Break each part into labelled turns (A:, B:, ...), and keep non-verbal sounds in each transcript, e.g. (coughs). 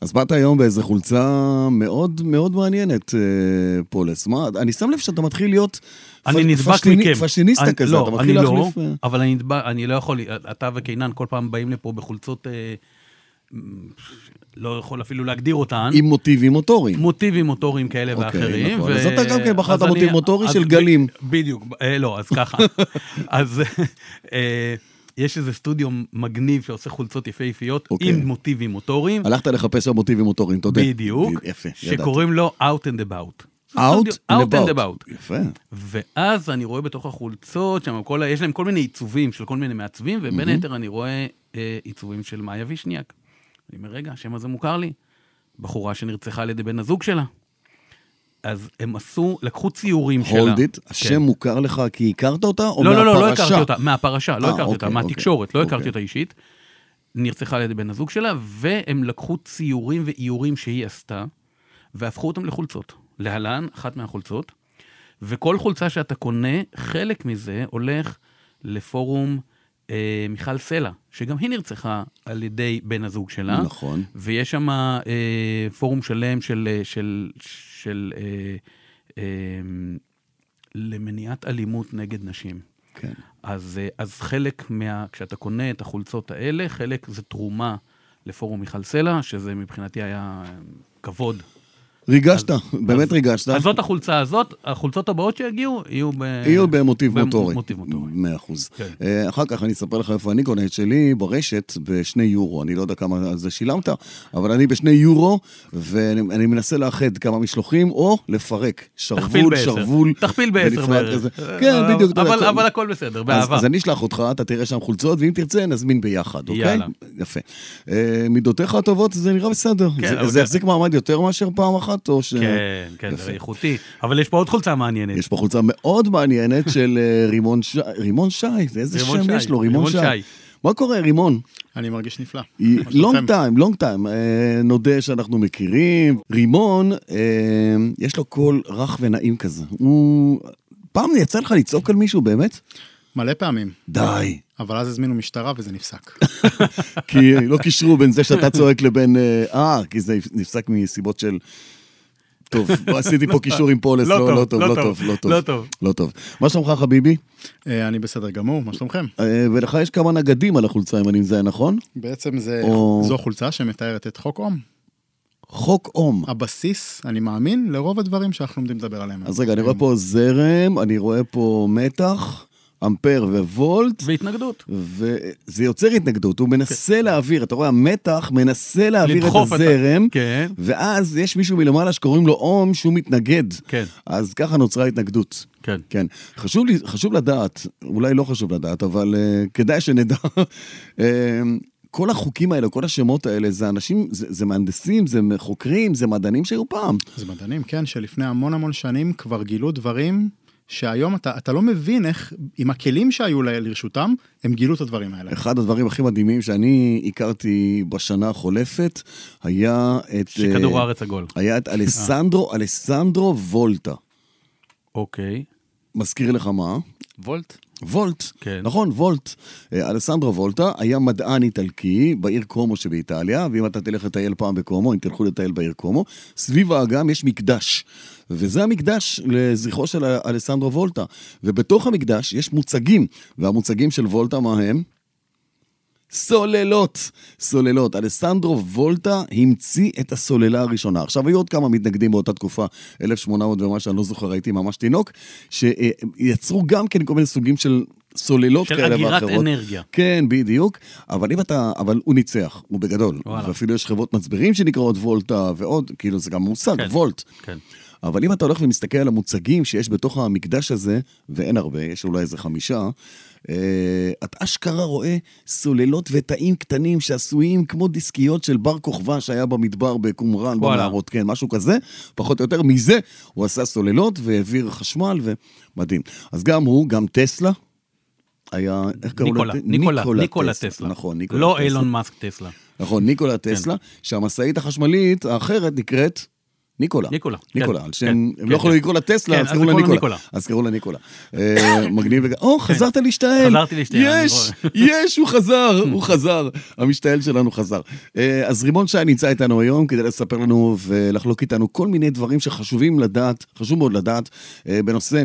A: אז באת היום באיזו חולצה מאוד מאוד מעניינת, אה, פולס. מה, אני שם לב שאתה מתחיל להיות
B: אני
A: פ-
B: נדבק
A: פשטיני-
B: מכם.
A: פשטיניסטה
B: אני-
A: כזה,
B: לא,
A: אתה מתחיל
B: אני לא,
A: להחליף... אה,
B: אבל אני נדבק, אני לא יכול, אתה וקינן כל פעם באים לפה בחולצות, אה, מ- לא יכול אפילו להגדיר אותן.
A: עם מוטיבים מוטוריים.
B: מוטיבים מוטוריים כאלה
A: אוקיי,
B: ואחרים.
A: נכון. אז אתה גם כן בחרת
B: אז אני-
A: מוטיב מוטורי
B: אז
A: של
B: ב-
A: גלים.
B: בדיוק, אה, לא, אז
A: (laughs)
B: ככה. אז אה, יש איזה סטודיו מגניב שעושה חולצות יפהפיות
A: אוקיי.
B: עם מוטיבים מוטוריים,
A: הלכת לחפש שם מוטיבים מוטוריים, אתה יודע.
B: בדיוק,
A: יפה, ידעתי.
B: שקוראים לו Out and About. זה
A: Out
B: סטודיו-
A: and
B: Out and
A: about.
B: About.
A: יפה.
B: ואז אני רואה בתוך החולצות, שם כל, ה- יש להם כל מיני עיצובים של כל מיני מעצבים, ובין היתר אני רואה אה, עיצובים של מאיה וישניאק. אני אומר, רגע, השם הזה מוכר לי. בחורה שנרצחה על ידי בן הזוג שלה. אז הם עשו, לקחו ציורים שלה.
A: הולד איט, השם מוכר לך כי הכרת אותה או
B: כן. לא,
A: מהפרשה?
B: לא, לא, לא הכרתי אותה, מהפרשה, לא
A: אה,
B: הכרתי
A: אוקיי,
B: אותה,
A: אוקיי,
B: מהתקשורת, לא הכרתי
A: אוקיי.
B: אותה אישית. נרצחה על ידי בן הזוג שלה, והם לקחו ציורים ואיורים שהיא עשתה, והפכו אותם לחולצות. להלן, אחת מהחולצות. וכל חולצה שאתה קונה, חלק מזה הולך לפורום אה, מיכל סלע, שגם היא נרצחה על ידי בן הזוג שלה.
A: נכון.
B: ויש שם אה, פורום שלם של, אה, של, של אה, אה, למניעת אלימות נגד נשים.
A: כן.
B: אז, אה, אז חלק מה... כשאתה קונה את החולצות האלה, חלק זה תרומה לפורום מיכל סלע, שזה מבחינתי היה אה, כבוד.
A: ריגשת, באמת ריגשת.
B: אז זאת החולצה הזאת, החולצות הבאות שיגיעו יהיו ב...
A: יהיו במוטיב
B: במ-
A: מוטורי.
B: מוטיב מוטורי.
A: מאה אחוז.
B: כן.
A: אה, אחר כך אני אספר לך איפה אני קונה את שלי ברשת בשני יורו. אני לא יודע כמה על זה שילמת, אבל אני בשני יורו, ואני אני מנסה לאחד כמה משלוחים, או לפרק.
B: תכפיל
A: שרוול,
B: בעשר.
A: שרוול.
B: תכפיל בעשר
A: בנפרד
B: בערך. אה,
A: כזה. כן, בדיוק. אתה יודע,
B: אבל,
A: כל-
B: אבל הכל בסדר, באהבה.
A: אז, אז אני אשלח אותך, אתה תראה שם חולצות, ואם תרצה, נזמין ביחד, אוקיי?
B: יאללה.
A: יפה. אה, מידותיך הטובות, זה נראה בסדר.
B: כן,
A: זה,
B: אבל-
A: זה יחזיק מעמד יותר מאשר פעם אחת, או ש...
B: כן, כן,
A: יפה.
B: זה איכותי. אבל יש פה עוד חולצה מעניינת.
A: יש פה חולצה מאוד
B: (laughs)
A: מעניינת של אה, רימון שי, רימון שי, זה איזה
B: רימון
A: שם
B: שי,
A: יש לו, רימון
B: רימון
A: שי.
B: שי.
A: מה קורה, רימון?
C: אני מרגיש נפלא. מה שלומכם?
A: לונג טיים, לונג טיים, אה, נודה שאנחנו מכירים. רימון, אה, יש לו קול רך ונעים כזה. הוא... פעם יצא לך לצעוק על מישהו, באמת?
C: מלא פעמים,
B: (laughs)
A: די.
C: אבל אז הזמינו משטרה וזה
A: (laughs)
C: נפסק.
A: כי לא קישרו בין זה שאתה צועק לבין... אה, אה, כי זה נפסק מסיבות של... טוב, עשיתי פה קישור עם פולס,
B: (laughs) לא
A: לא
B: טוב,
A: לא טוב,
B: לא
A: לא
B: טוב,
A: טוב, לא
B: לא
A: טוב,
B: טוב.
A: לא טוב. מה שלומך חביבי?
C: אה, אני בסדר גמור, מה שלומכם?
A: אה, ולך יש כמה נגדים על החולצה, אם אני מזהה נכון?
C: בעצם זה,
A: או-
C: זו חולצה שמתארת את חוק אום.
A: חוק אום.
C: אה, הבסיס, אני מאמין, לרוב הדברים שאנחנו לומדים לדבר עליהם. אה,
A: אז רגע, אני רואה פה זרם, אני רואה פה מתח, אמפר ווולט.
B: והתנגדות.
A: וזה יוצר התנגדות, הוא מנסה להעביר, אתה רואה, המתח מנסה להעביר את
B: כן. לדחוף את ה-
A: הזרם,
B: כן.
A: ואז יש מישהו מלמעלה שקוראים לו אום שהוא מתנגד.
B: כן.
A: אז ככה נוצרה התנגדות.
B: כן.
A: כן. חשוב, לי, חשוב לדעת, אולי לא חשוב לדעת, אבל uh, כדאי שנדע. (laughs) uh, כל החוקים האלה, כל השמות האלה, זה אנשים, זה, זה מהנדסים, זה חוקרים, זה מדענים שהיו פעם.
C: זה מדענים, כן, שלפני המון המון שנים כבר גילו דברים שהיום אתה, אתה לא מבין איך, עם הכלים שהיו ל- לרשותם, הם גילו את הדברים האלה.
A: אחד הדברים הכי מדהימים שאני הכרתי בשנה החולפת, היה את...
B: שכדור
A: אה,
B: הארץ עגול.
A: היה את
B: אה.
A: אלסנדרו, אלסנדרו וולטה.
B: אוקיי.
A: מזכיר לך מה?
B: וולט?
A: וולט,
B: כן.
A: נכון, וולט. אה, אלסנדרו וולטה היה מדען איטלקי בעיר קומו שבאיטליה, ואם אתה תלך לטייל פעם בקומו, אם תלכו לטייל בעיר קומו, סביב האגם יש מקדש. וזה המקדש לזכרו של א- אלסנדרו וולטה. ובתוך המקדש יש מוצגים, והמוצגים של וולטה מה הם? סוללות, סוללות. אלסנדרו וולטה המציא את הסוללה הראשונה. עכשיו, היו עוד כמה מתנגדים באותה תקופה, 1800 ומשהו, אני לא זוכר, הייתי ממש תינוק, שיצרו גם כן כל מיני סוגים של סוללות
B: של
A: כאלה
B: אגירת
A: ואחרות.
B: אנרגיה.
A: כן, בדיוק. אבל אם אתה, אבל הוא ניצח, הוא בגדול.
B: וואלה.
A: ואפילו יש חברות מצברים שנקראות וולטה ועוד, כאילו זה גם מושג,
B: כן.
A: וולט.
B: כן.
A: אבל אם אתה הולך ומסתכל על המוצגים שיש בתוך המקדש הזה, ואין הרבה, יש אולי איזה חמישה, אה, את אשכרה רואה סוללות ותאים קטנים שעשויים כמו דיסקיות של בר כוכבא שהיה במדבר בקומראן,
B: וואלה.
A: במערות, כן, משהו כזה, פחות או יותר. מזה הוא עשה סוללות והעביר חשמל, ומדהים. אז גם הוא, גם טסלה. היה, איך קראו
B: ניקולה,
A: לו?
B: ניקולה, ניקולה טסלה.
A: נכון, ניקולה
B: לא כן.
A: טסלה. אה,
B: אילון מאסק טסלה.
A: נכון, ניקולה טסלה, שהמשאית החשמלית האחרת נקראת ניקולה.
B: ניקולה, כן,
A: ניקולה, על שם,
B: כן,
A: הם לא
B: כן,
A: יכולו
B: כן.
A: לקרוא לה טסלה,
B: כן,
A: אז
B: אז
A: קראו לה
B: קראו לה
A: ניקולה.
B: ניקולה.
A: אז קראו לה ניקולה. אה, (laughs) מגניב וג... או, חזרת להשתעל.
B: כן. חזרתי להשתעל, אני
A: יש, (laughs) יש, הוא חזר, הוא חזר. המשתעל שלנו חזר. אה, אז רימון שי נמצא איתנו היום כדי לספר לנו ולחלוק איתנו כל מיני דברים שחשובים לדעת, חשוב מאוד לדעת, אה, בנושא...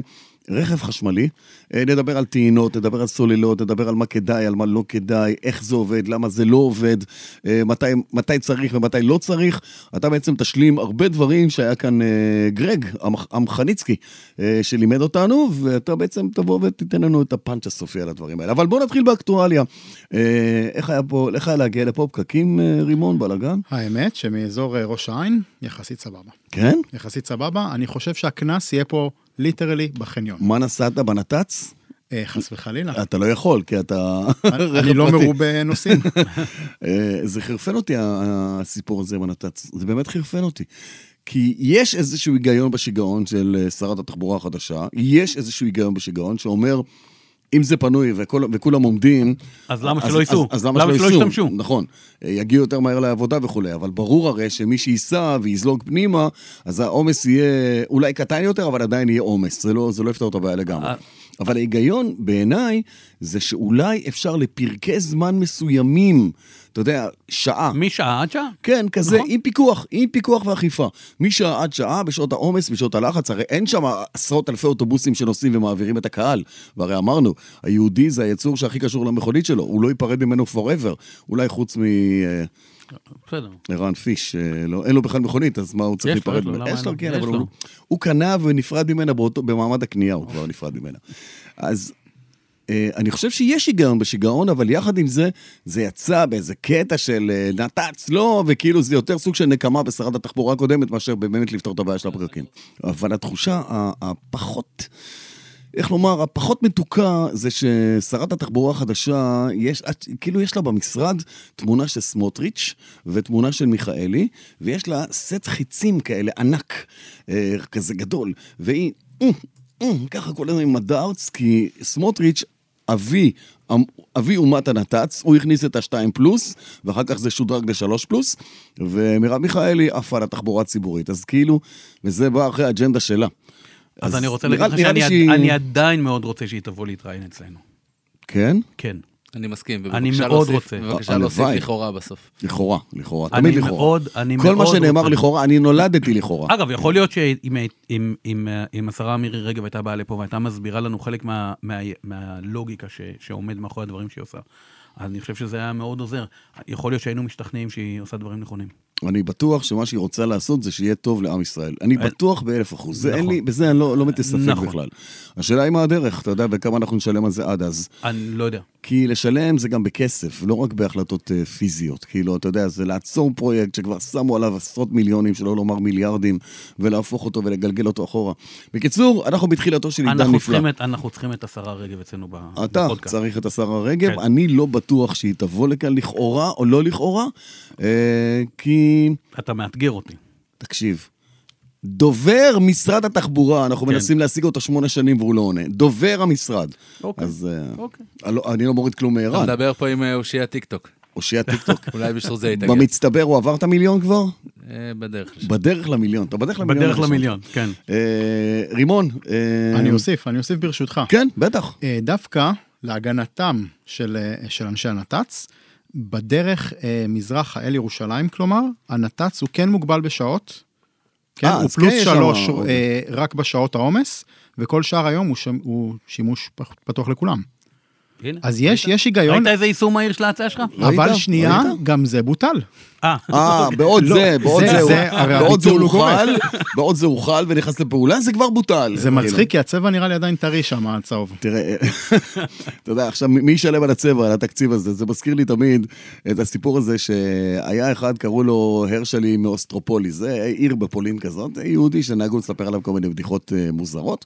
A: רכב חשמלי, אה, נדבר על טעינות, נדבר על סוללות, נדבר על מה כדאי, על מה לא כדאי, איך זה עובד, למה זה לא עובד, אה, מתי, מתי צריך ומתי לא צריך. אתה בעצם תשלים הרבה דברים שהיה כאן אה, גרג המח- המחניצקי, אה, שלימד אותנו, ואתה בעצם תבוא ותיתן לנו את הפאנץ' הסופי על הדברים האלה. אבל בואו נתחיל באקטואליה. אה, איך היה פה, איך היה להגיע לפה? פקקים, אה, רימון, בלאגן?
C: האמת שמאזור אה, ראש העין, יחסית סבבה.
A: כן?
C: יחסית סבבה, אני חושב שהקנס יהיה פה ליטרלי בחניון.
A: מה נסעת בנת"צ?
C: אה, חס וחלילה.
A: אתה לא יכול, כי אתה
C: אני לא מרובה נוסעים.
A: אה, זה חרפן אותי ה- ה- הסיפור הזה עם הנת"צ, זה באמת חרפן אותי. כי יש איזשהו היגיון בשיגעון של אה, שרת התחבורה החדשה, יש איזשהו היגיון בשיגעון שאומר, אם זה פנוי וכל, וכולם עומדים...
B: אז למה שלא ייסעו?
A: אז, אז למה, שלא ישתמשו? נכון. אה, יגיעו יותר מהר לעבודה וכולי, אבל ברור הרי שמי שייסע ויזלוג פנימה, אז העומס יהיה אולי קטן יותר, אבל עדיין יהיה עומס. זה לא, זה לא יפתור את הבעיה לגמרי.
B: אה.
A: אבל ההיגיון בעיניי זה שאולי אפשר לפרקי זמן מסוימים, אתה יודע, שעה.
B: משעה עד שעה?
A: כן, כזה,
B: נכון.
A: עם פיקוח, עם פיקוח ואכיפה. משעה עד שעה, בשעות העומס, בשעות הלחץ, הרי אין שם עשרות אלפי אוטובוסים שנוסעים ומעבירים את הקהל. והרי אמרנו, היהודי זה היצור שהכי קשור למכונית שלו, הוא לא ייפרד ממנו forever. אולי חוץ אה, מערן
B: בסדר.
A: פיש, אה, לא, אין לו בכלל מכונית, אז מה הוא צריך
B: יש לו,
A: להיפרד
B: יש לו,
A: ממנו?
B: למה
A: יש לו,
B: אין לו?
A: כן,
B: יש
A: אבל
B: לו.
A: הוא- הוא קנה ונפרד ממנה באותו- במעמד הקנייה, הוא כבר נפרד ממנה. אז אה, אני חושב שיש היגיון בשיגעון, אבל יחד עם זה, זה יצא באיזה קטע של אה, נת"צ, לא, וכאילו זה יותר סוג של נקמה בשרת התחבורה הקודמת, מאשר באמת לפתור את הבעיה של הפקקים. אבל התחושה ה- הפחות... איך לומר, הפחות מתוקה זה ששרת התחבורה החדשה, יש, את- כאילו יש לה במשרד תמונה של סמוטריץ' ותמונה של מיכאלי, ויש לה סט חיצים כאלה ענק, אה, כזה גדול, והיא "אמ, אמ", ככה כל הזמן עם הדארטס, כי סמוטריץ', אבי, אמ- אבי אומת הנת"צ, הוא הכניס את השתיים פלוס, ואחר כך זה שודרג לשלוש פלוס, ומרב מיכאלי עפה על התחבורה הציבורית, אז כאילו, וזה בא אחרי האג'נדה שלה.
B: אז אני רוצה
A: נראה-
B: להגיד לך
A: נראה לי
B: שאני
A: שהיא-
B: עד- אני עדיין מאוד רוצה שהיא תבוא להתראיין אצלנו.
A: כן?
B: כן.
D: אני מסכים,
B: אני
D: בבקשה
B: מאוד
D: להוסיף-
B: רוצה.
D: בבקשה
A: הלוואי.
D: להוסיף לכאורה בסוף.
A: לכאורה, לכאורה,
B: אני
A: תמיד לכאורה.
B: מאוד- אני
A: כל מה
B: מאוד
A: שנאמר
B: רוצה.
A: לכאורה, אני נולדתי לכאורה.
B: אגב, יכול להיות שאם אם- אם- אה, אם השרה מירי רגב הייתה באה לפה והייתה מסבירה לנו חלק מה- מה- מהלוגיקה ש- שעומד מאחורי הדברים שהיא עושה, אז אני חושב שזה היה מאוד עוזר. יכול להיות שהיינו משתכנעים שהיא עושה דברים נכונים.
A: אני בטוח שמה שהיא רוצה לעשות זה שיהיה טוב לעם ישראל. אני
B: אין-
A: בטוח באלף אחוז. זה
B: נכון.
A: אין לי, בזה אני לא לא מתספק
B: נכון.
A: בכלל. השאלה היא מה הדרך, אתה יודע, וכמה אנחנו נשלם על זה עד אז.
B: אני לא יודע.
A: כי לשלם זה גם בכסף, לא רק בהחלטות אה, פיזיות. כאילו, אתה יודע, זה לעצור פרויקט שכבר שמו עליו עשרות מיליונים, שלא לומר מיליארדים, ולהפוך אותו ולגלגל אותו אחורה. בקיצור, אנחנו בתחילתו של עידן
B: אנחנו
A: נפלא.
B: צריכים את- אנחנו צריכים את השרה רגב אצלנו ב-
A: אתה
B: בפודקאסט.
A: צריך את השרה רגב,
B: כן.
A: אני לא בטוח שהיא תבוא לכאן לכאורה או לא לכאורה, אה, כי,
B: אתה מאתגר אותי.
A: תקשיב, דובר משרד התחבורה, אנחנו
B: כן.
A: מנסים להשיג אותו שמונה שנים והוא לא עונה, דובר המשרד.
B: אוקיי.
A: אז אה,
B: אוקיי.
A: אני לא- אני לא מוריד כלום
D: אתה
A: מערן,
D: מדבר פה עם אה, אושי הטיקטוק,
A: אושי
B: (laughs)
A: הטיקטוק.
D: אולי בשביל זה יתאגד.
A: במצטבר הוא עבר את המיליון כבר?
D: אה, בדרך. לשם.
A: בדרך למיליון, אתה בדרך למיליון.
B: בדרך
A: עכשיו.
B: למיליון, כן.
A: אה, רימון. (laughs) אה,
C: אני אוסיף, אני אוסיף ברשותך.
A: כן, בטח.
C: אה, דווקא להגנתם של, אה, של אנשי הנת"צ, בדרך אה, מזרח האל ירושלים, כלומר, הנת"צ הוא כן מוגבל בשעות. כן,
A: אה,
C: הוא
A: אז
C: פלוס
A: כן יש שם
C: שלוש
A: עוד.
C: אה, רק בשעות העומס, וכל שאר היום הוא, שמ, הוא שימוש פח- פתוח לכולם.
B: הנה.
C: אז יש, יש היגיון,
B: ראית איזה יישום מהיר של ההצעה שלך?
C: אבל
A: ראית?
C: שנייה,
A: ראית?
C: גם זה בוטל.
B: אה,
A: אה, בעוד
C: לא,
A: זה, בעוד
C: זה-
A: זה,
C: זה-
A: הוא-
C: הרי
A: בעוד זה
C: הביטול הוא
A: הוחל, בעוד זה הוחל ונכנס לפעולה, זה כבר בוטל.
C: זה
A: כאילו.
C: מצחיק, כי הצבע נראה לי עדיין טרי שם, הצהוב.
A: תראה, (laughs) אתה יודע, עכשיו, מי ישלם על הצבע, על התקציב הזה? זה מזכיר לי תמיד את הסיפור הזה שהיה אחד, קראו לו הרשלי מאוסטרופולי, זה עיר בפולין כזאת, יהודי שנהגו לספר עליו כל מיני בדיחות אה, מוזרות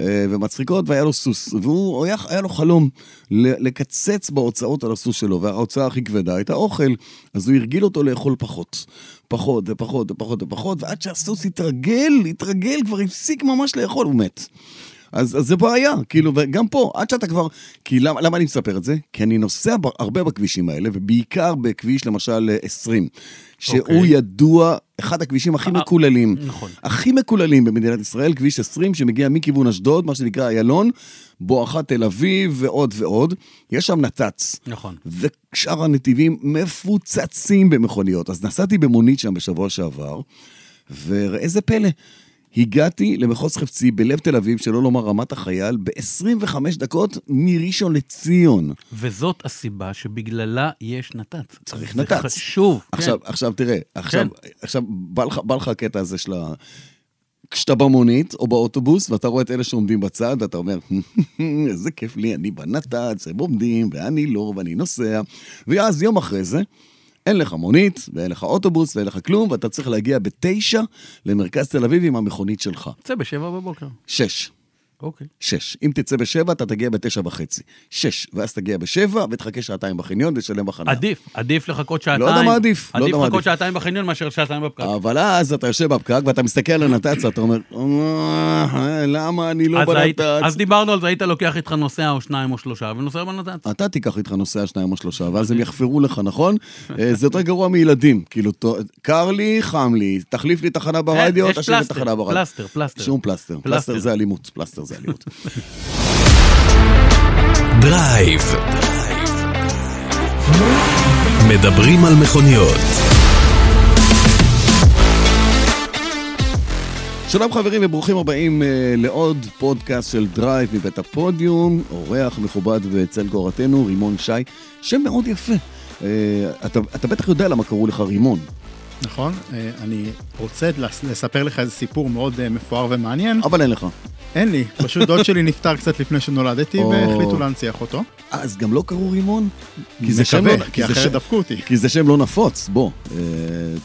A: אה, ומצחיקות, והיה לו סוס, והוא, היה, היה לו חלום ל- לקצץ בהוצאות על הסוס שלו, וההוצאה הכי כבדה הייתה אוכל, אז הוא הרגיל אותו לאכול פחות. פחות ופחות ופחות ופחות, ועד שהסוס התרגל, התרגל, כבר הפסיק ממש לאכול, הוא מת. אז, אז זה בעיה, כאילו, וגם פה, עד שאתה כבר... כי למה, למה אני מספר את זה? כי אני נוסע ב- הרבה בכבישים האלה, ובעיקר בכביש, למשל, אה, 20, שהוא okay.
B: אוקיי.
A: ידוע, אחד הכבישים הכי
B: אה,
A: מקוללים.
B: נכון.
A: הכי מקוללים במדינת ישראל, כביש 20 שמגיע מכיוון אשדוד, מה שנקרא איילון, בואכה תל אביב ועוד ועוד. יש שם נת"צ.
B: נכון.
A: ושאר הנתיבים מפוצצים במכוניות. אז נסעתי במונית שם בשבוע שעבר, וראה זה פלא. הגעתי למחוז חפצי בלב תל אביב, שלא לומר רמת החייל, ב-25 דקות מראשון לציון.
B: וזאת הסיבה שבגללה יש נת"צ.
A: צריך
B: זה
A: נת"צ.
B: חשוב. כן.
A: עכשיו, עכשיו תראה, עכשיו, עכשיו בא, לך, בא לך הקטע הזה של ה... כשאתה במונית או באוטובוס, ואתה רואה את אלה שעומדים בצד, ואתה אומר, איזה כיף לי, אני בנת"צ, הם עומדים, ואני לא, ואני נוסע. ואז יום אחרי זה, אין לך מונית, ואין לך אוטובוס, ואין לך כלום, ואתה צריך להגיע בתשע למרכז תל אביב עם המכונית שלך.
B: כן. צא בשבע בבוקר.
A: שש.
B: אוקיי.
A: שש. אם תצא בשבע, אתה תגיע בתשע וחצי. שש. ואז תגיע בשבע, ותחכה שעתיים בחניון, ותשלם בחניה.
B: עדיף, עדיף לחכות שעתיים.
A: יודע מה עדיף, לא יודע
B: עדיף
A: מה
B: לחכות
A: עדיף.
B: שעתיים בחניון מאשר שעתיים בפקק.
A: אבל אז אתה יושב בפקק ואתה מסתכל על הנת"צ ואתה אומר, "אה, למה אני לא
B: אז היית- אז
A: בנת"צ?
B: דיברנו על זה, היית לוקח איתך נוסע או שניים או שלושה ונוסע בנת"צ.
A: אתה תיקח איתך נוסע שניים או שלושה, ואז הם יחפרו לך, נכון? אה, זה יותר גרוע מילדים. כאילו, ת- קר לי, חם לי, תחליף לי תחנה ברדיו,
B: אה, יש
A: תשאיר לי
B: פלסטר,
A: תחנה ברדיו.
B: פלסטר, פלסטר.
A: שום פלסטר. פלסטר
B: פלסטר.
A: זה אלימות, פלסטר זה אלימות.
E: דרייב. מדברים על מכוניות.
A: שלום חברים וברוכים הבאים אה, לעוד פודקאסט של דרייב מבית הפודיום, אורח מכובד בצל גורתנו, רימון שי, שם מאוד יפה. אה, אתה, אתה בטח יודע למה קראו לך רימון.
C: נכון? אה, אני רוצה לס- לספר לך איזה סיפור מאוד אה, מפואר ומעניין.
A: אבל אין לך.
C: אין לי, פשוט דוד שלי נפטר קצת לפני שנולדתי,
A: או.
C: והחליטו להנציח אותו.
A: אה, אז גם לא קראו רימון? כי זה שם לא-
C: מקווה,
A: כי
C: כי
A: זה
C: אחרת
A: שם-
C: דפקו אותי.
A: כי זה שם לא נפוץ, בוא. אה,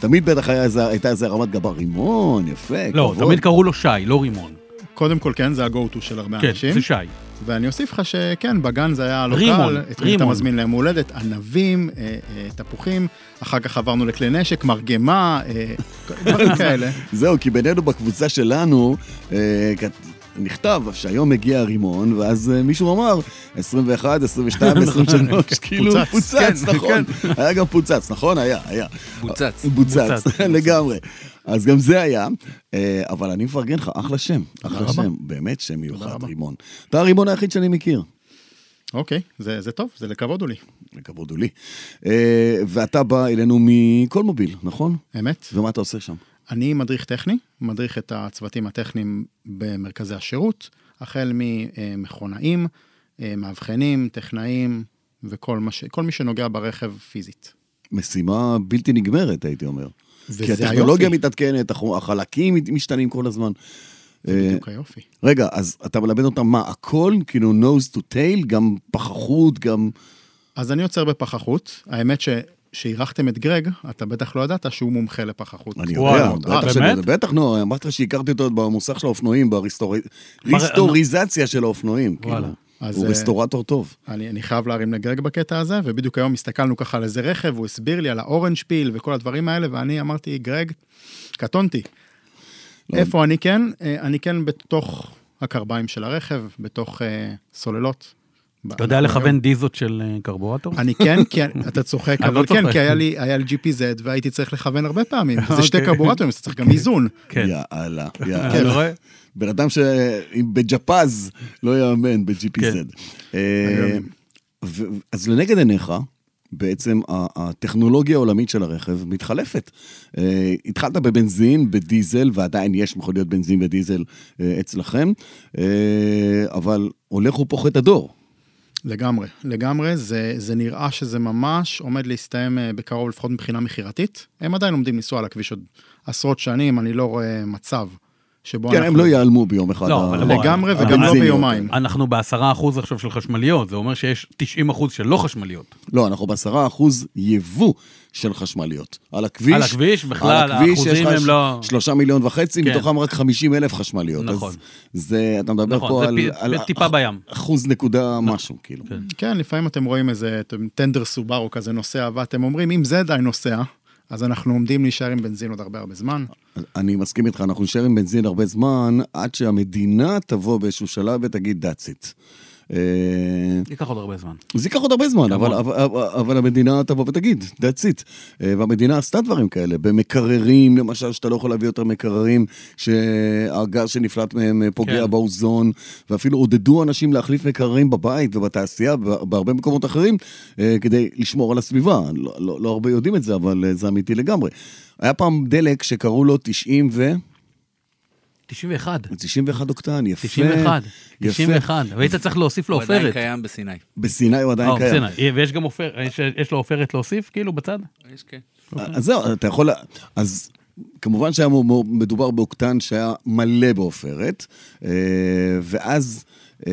A: תמיד בטח היה איזה- הייתה איזה הרמת גבה, רימון, יפה,
B: לא, תמיד קראו לו שי, לא רימון.
C: קודם כל, כן, זה ה-go-to של הרבה
B: כן,
C: אנשים.
B: זה שי.
C: ואני אוסיף לך שכן, בגן זה היה לא
B: רימון,
C: קל, את מי אתה
B: רימון.
C: מזמין ליום הולדת, ענבים, אה, אה, תפוחים, אחר כך עברנו לכלי נשק, מרגמה, אה, דברים כאלה.
A: זהו, כי בינינו בקבוצה שלנו, אה, כת- נכתב שהיום מגיע הרימון, ואז אה, מישהו אמר, 21, 22, 23, כאילו,
C: פוצץ,
A: פוצץ, נכון. היה גם פוצץ, נכון? היה, היה.
D: בוצץ.
A: בוצץ, (laughs)
B: בוצץ.
A: לגמרי. אז גם זה היה, אה, אבל אני מפרגן לך, אחלה שם, אחלה
C: רבה.
A: שם, באמת שם מיוחד,
C: רבה.
A: רימון. אתה הרימון היחיד שאני מכיר.
C: אוקיי, זה זה טוב, זה לכבוד הוא לי,
A: לכבוד הוא לי. אה, ואתה בא אלינו מקולמוביל, נכון?
C: אמת.
A: ומה אתה עושה שם?
C: אני מדריך טכני, מדריך את הצוותים הטכניים במרכזי השירות, החל ממכונאים, אה, מאבחנים, טכנאים וכל מה ש... כל מי שנוגע ברכב פיזית.
A: משימה בלתי נגמרת, הייתי אומר.
C: וזה
A: כי הטכנולוגיה
C: היופי.
A: מתעדכנת, החו- החלקים מת- משתנים כל הזמן. אה,
C: בדיוק היופי.
A: רגע, אז אתה מלמד אותם מה, הכל? כאילו nose to tail, גם פחחות, גם...
C: אז אני עוצר בפחחות, האמת ש... שאירחתם את גרג, אתה בטח לא ידעת שהוא מומחה לפחחות.
A: אני
B: וואי,
A: יודע,
B: אה,
A: בטח שאני
B: באמת?
A: יודע, בטח, נו, אמרת לך שהכרתי אותו עוד במוסך של האופנועים,
B: מראה-
A: בריסטוריזציה של האופנועים. כאילו.
B: וואלה.
C: אז,
A: הוא
C: אה,
A: רסטורטור טוב.
C: אני, אני חייב להרים לגרג בקטע הזה, ובדיוק היום הסתכלנו ככה על איזה רכב, הוא הסביר לי על האורנג' פיל וכל הדברים האלה, ואני אמרתי, גרג, קטונתי.
A: לא.
C: איפה אני כן? אה, אני כן בתוך הקרביים של הרכב, בתוך אה, סוללות.
B: אתה יודע לכוון דיזות של אה, קרבורטור?
C: אני כן, כן, אתה צוחק,
B: (laughs) אני לא
C: אבל כן,
B: צוחק.
C: כי היה לי, היה לי GPZ והייתי צריך לכוון הרבה פעמים. זה שתי
B: אוקיי.
C: קרבורטורים, אז אתה צריך גם איזון.
B: כן.
A: יאללה,
B: אתה
A: יאללה.
B: רואה?
A: בן אדם שבג'פז לא יאמן
B: כן.
A: ב-GPZ. אה, ו- אז לנגד עיניך, בעצם ה- הטכנולוגיה העולמית של הרכב מתחלפת. אה, התחלת בבנזין, בדיזל, ועדיין יש מכוניות בנזין ודיזל אה, אצלכם, אה, אבל הולך ופוחת הדור.
C: לגמרי, לגמרי, זה, זה נראה שזה ממש עומד להסתיים אה, בקרוב, לפחות מבחינה מכירתית. הם עדיין עומדים לנסוע על הכביש עוד עשרות שנים, אני לא רואה מצב שבו
A: כן,
C: אנחנו...
A: הם לא ייעלמו ביום אחד.
B: לא, אבל
A: ה-
C: לגמרי
B: אבל-
C: וגם לא
A: הבנזיניות.
C: ביומיים.
B: אנחנו בעשרה אחוז עכשיו של חשמליות, זה אומר שיש 90 אחוז של לא חשמליות.
A: לא, אנחנו בעשרה אחוז יבוא של חשמליות. על הכביש.
B: על הכביש, בכלל,
A: על הכביש
B: האחוזים
A: יש לך
B: הם לא-
A: שלושה מיליון וחצי,
B: כן.
A: מתוכם רק חמישים אלף חשמליות.
B: נכון.
A: אז זה, אתה מדבר
B: נכון,
A: פה
B: זה
A: על...
B: פי-
A: על
B: טיפה
A: אח-
B: בים.
A: אחוז נקודה משהו, כאילו.
B: כן.
C: כן, לפעמים אתם רואים איזה אתם- טנדר סובארו כזה נוסע, ואתם אומרים, אם זה עדיין נוסע, אז אנחנו עומדים להישאר עם בנזין עוד הרבה הרבה זמן.
A: אני מסכים איתך, אנחנו נשאר עם בנזין הרבה זמן, עד שהמדינה תבוא באיזשהו שלב ותגיד that's it. אה,
B: ייקח עוד הרבה זמן.
A: זה ייקח עוד הרבה זמן, אבל, אבל, אבל המדינה תבוא ותגיד, that's it. אה, והמדינה עשתה דברים כאלה, במקררים, למשל, שאתה לא יכול להביא יותר מקררים, שהגז שנפלט מהם אה, פוגע
B: כן.
A: באוזון, ואפילו עודדו אנשים להחליף מקררים בבית ובתעשייה, ב- בהרבה מקומות אחרים, אה, כדי לשמור על הסביבה. לא, לא, לא הרבה יודעים את זה, אבל אה, זה אמיתי לגמרי. היה פעם דלק שקראו לו 90 ו...
B: 91.
A: 91 אוקטן, יפה.
B: 91.
A: יפה.
B: 91. והיית צריך להוסיף לו
D: הוא עדיין
B: עופרת.
D: קיים בסיני.
A: בסיני הוא עדיין
B: אה,
A: קיים.
B: בסדר. ויש גם עופרת, יש- יש לו עופרת להוסיף, כאילו, בצד?
D: יש, כן.
A: אוקיי. אז זהו, אתה יכול... לה- אז כמובן שהיה מו- מו- מדובר באוקטן שהיה מלא בעופרת, אה, ואז אה,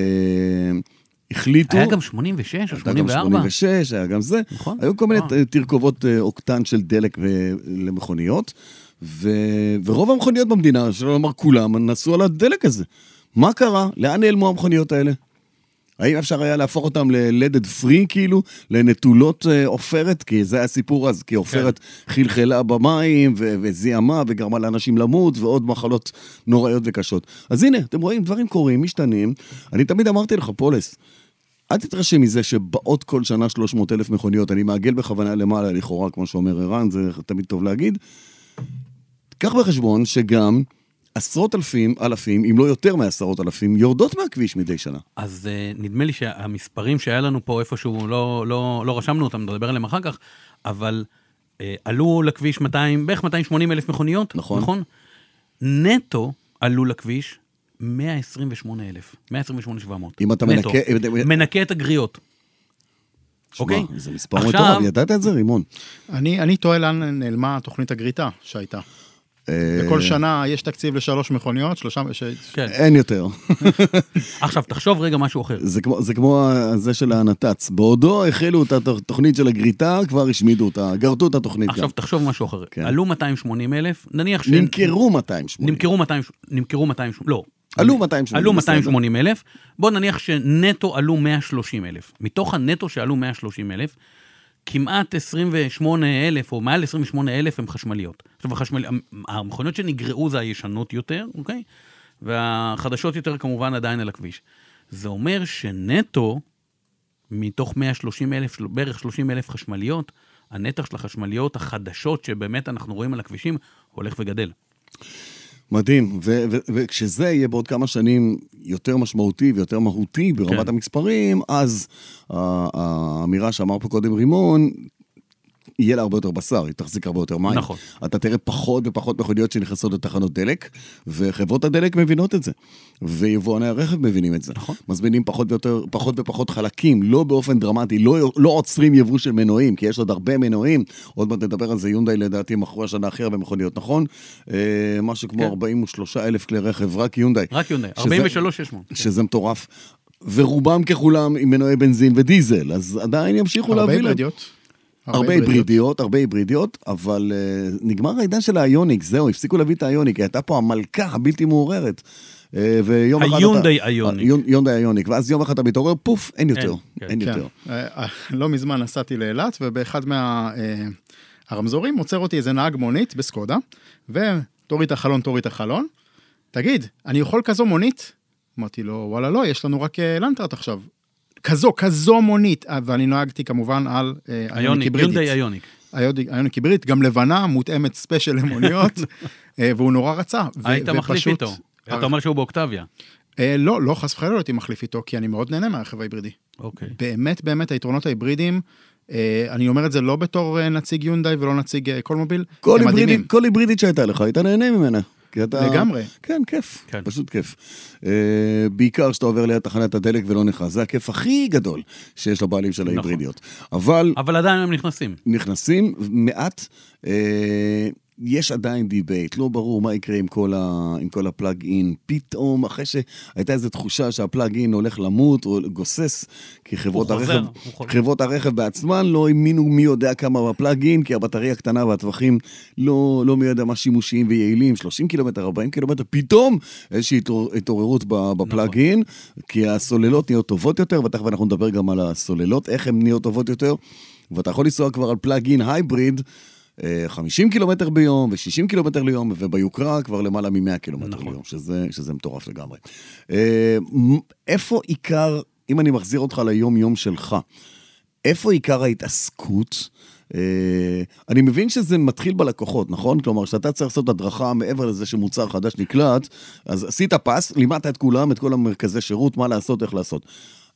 A: החליטו...
B: היה גם 86 או
A: היה גם
B: 84?
A: 86, היה גם זה.
B: נכון.
A: היו כל מיני
B: אה.
A: ת- תרכובות אה, אוקטן של דלק ו- למכוניות, ו... ורוב המכוניות במדינה, שלא לומר כולם, נסעו על הדלק הזה. מה קרה? לאן נעלמו המכוניות האלה? האם אפשר היה להפוך אותם ללדד פרי כאילו, לנטולות אה, עופרת? כי זה היה סיפור אז, כי עופרת
B: כן.
A: חלחלה במים ו- וזיהמה וגרמה לאנשים למות ועוד מחלות נוראיות וקשות. אז הנה, אתם רואים, דברים קורים, משתנים. אני תמיד אמרתי לך, פולס, אל תתרשם מזה שבאות כל שנה 300 אלף מכוניות, אני מעגל בכוונה למעלה לכאורה, כמו שאומר ערן, זה תמיד טוב להגיד. קח בחשבון שגם עשרות אלפים, אלפים, אם לא יותר מעשרות אלפים, יורדות מהכביש מדי שנה.
B: אז אה, נדמה לי שהמספרים שהיה לנו פה איפשהו, לא, לא, לא רשמנו אותם, נדבר עליהם אחר כך, אבל אה, עלו לכביש 200, בערך 280 אלף מכוניות,
A: נכון.
B: נכון? נטו עלו לכביש 128 אלף, 128,700.
A: אם אתה
B: נטו.
A: מנקה-
B: מנקה את הגריות. אוקיי.
A: שמע, זה מספר
B: עכשיו-
A: מטורף, ידעת את זה, רימון?
C: אני, אני תוהה לאן נעלמה תוכנית הגריטה שהייתה.
A: אה,
C: וכל שנה יש תקציב לשלוש מכוניות, שלושה... ש...
B: כן.
A: אין יותר.
B: עכשיו, תחשוב רגע משהו אחר.
A: אה. זה כמו, זה כמו ה- זה של הנת"צ. בעודו החלו את התוכנית של הגריטה, כבר השמידו אותה, גרטו את התוכנית גם.
B: עכשיו, תחשוב משהו אחר.
A: כן.
B: עלו 280 אלף, נניח ש...
A: נמכרו 280.
B: נמכרו 200, נמכרו 200, לא.
A: עלו 280,
B: עלו
A: בסדר.
B: 280 אלף, בוא נניח שנטו עלו 130 אלף. מתוך הנטו שעלו 130 אלף, כמעט 28 אלף, או מעל 28 אלף הם חשמליות. עכשיו, החשמל... המכוניות שנגרעו זה הישנות יותר, אוקיי? והחדשות יותר כמובן עדיין על הכביש. זה אומר שנטו, מתוך 130 אלף, בערך 30 אלף חשמליות, הנתח של החשמליות החדשות שבאמת אנחנו רואים על הכבישים הולך וגדל.
A: מדהים, ו- ו- וכשזה יהיה בעוד כמה שנים יותר משמעותי ויותר מהותי ברמת
B: כן.
A: המספרים, אז ה- האמירה שאמר פה קודם רימון, יהיה לה הרבה יותר בשר, היא תחזיק הרבה יותר מים.
B: נכון.
A: אתה תראה פחות ופחות מכוניות שנכנסות לתחנות דלק, וחברות הדלק מבינות את זה, ויבואני הרכב מבינים את זה.
B: נכון.
A: מזמינים פחות ויותר, פחות ופחות חלקים, לא באופן דרמטי, לא, לא עוצרים יבוא של מנועים, כי יש עוד הרבה מנועים, עוד מעט נדבר על זה, יונדאי לדעתי מכרו השנה הכי הרבה מכוניות, נכון? אה, משהו כמו
B: כן.
A: 43 אלף כלי רכב, רק יונדאי.
B: רק יונדאי,
A: שזה-
B: 43,600.
A: שזה מטורף. ורובם ככולם עם מנועי בנזין ודיזל, אז עדיין ימשיכו
C: הרבה
A: להביא להם.
C: היברידיות.
A: הרבה היברידיות, הרבה היברידיות, אבל uh, נגמר העידן של האיוניק, זהו, הפסיקו להביא את האיוניק, הייתה פה המלכה הבלתי מעורערת. Uh, ויום אחד אתה...
B: היונדאי איוניק.
A: היונ- יונדאי איוניק, ואז יום אחד אתה מתעורר, פוף, אין יותר,
B: כן,
A: אין
C: כן.
A: יותר.
C: אה, אה, לא מזמן נסעתי לאילת, ובאחד מה... אה, הרמזורים עוצר אותי איזה נהג מונית בסקודה, ותוריד את החלון, תוריד את החלון. תגיד, אני יכול כזו מונית? אמרתי לו, וואלה, לא, יש לנו רק אה, לנטרט עכשיו. כזו, כזו מונית. אה, ואני נהגתי כמובן על אה, איוניק
B: איוניק,
C: היברידית.
B: יונדאי איוניק.
C: היוניק- היוניק היברידית, גם לבנה, מותאמת ספיישל
B: (laughs)
C: למוניות, אה, והוא נורא רצה. ו-
B: היית מחליף
C: ופשוט-
B: איתו. אתה אומר שהוא באוקטביה.
C: אה, לא, לא, חס וחלילה לא הייתי מחליף איתו, כי אני מאוד נהנה מהרכב ההיברידי.
B: אוקיי.
C: באמת באמת היתרונות ההיברידיים, אה, אני אומר את זה לא בתור אה, נציג יונדאי ולא נציג אה, כל מוביל,
A: כל
C: הם
A: היברידית-
C: מדהימים.
A: כל היברידית שהייתה לך, היית נהנה ממנה. כי אתה...
C: לגמרי.
A: כן, כיף,
B: כן.
A: פשוט כיף. Uh, בעיקר שאתה עובר ליד תחנת הדלק ולא נכנס, זה הכיף הכי גדול שיש לבעלים
B: נכון.
A: של ההיברידיות. אבל
B: אבל עדיין הם נכנסים.
A: נכנסים מעט. אה, יש עדיין דיבייט, לא ברור מה יקרה עם כל, ה, עם כל הפלאג אין. פתאום, אחרי שהייתה איזו תחושה שהפלאג אין הולך למות או גוסס, כי חברות
B: חוזר,
A: הרכב,
B: הוא חוזר.
A: חברות הרכב בעצמן לא האמינו מי יודע כמה בפלאג אין, כי הבטריה קטנה והטווחים לא, לא מי יודע מה שימושיים ויעילים, 30 קילומטר, 40 קילומטר, פתאום איזושהי התעור, התעוררות ב- בפלאג אין, כי הסוללות נהיות טובות יותר, ותכף אנחנו נדבר גם על הסוללות, איך הן נהיות טובות יותר. ואתה יכול לנסוע כבר על פלאג אין הייבריד, אה, 50 קילומטר ביום ו-60 קילומטר ליום, וביוקרה כבר למעלה מ-100 קילומטר
B: נכון.
A: ליום, שזה, שזה מטורף לגמרי. אה, מ- איפה עיקר, אם אני מחזיר אותך ליום-יום שלך, איפה עיקר ההתעסקות? אה, אני מבין שזה מתחיל בלקוחות, נכון? כלומר, כשאתה צריך לעשות הדרכה מעבר לזה שמוצר חדש נקלט, אז עשית פס, לימדת את כולם, את כל המרכזי שירות, מה לעשות, איך לעשות.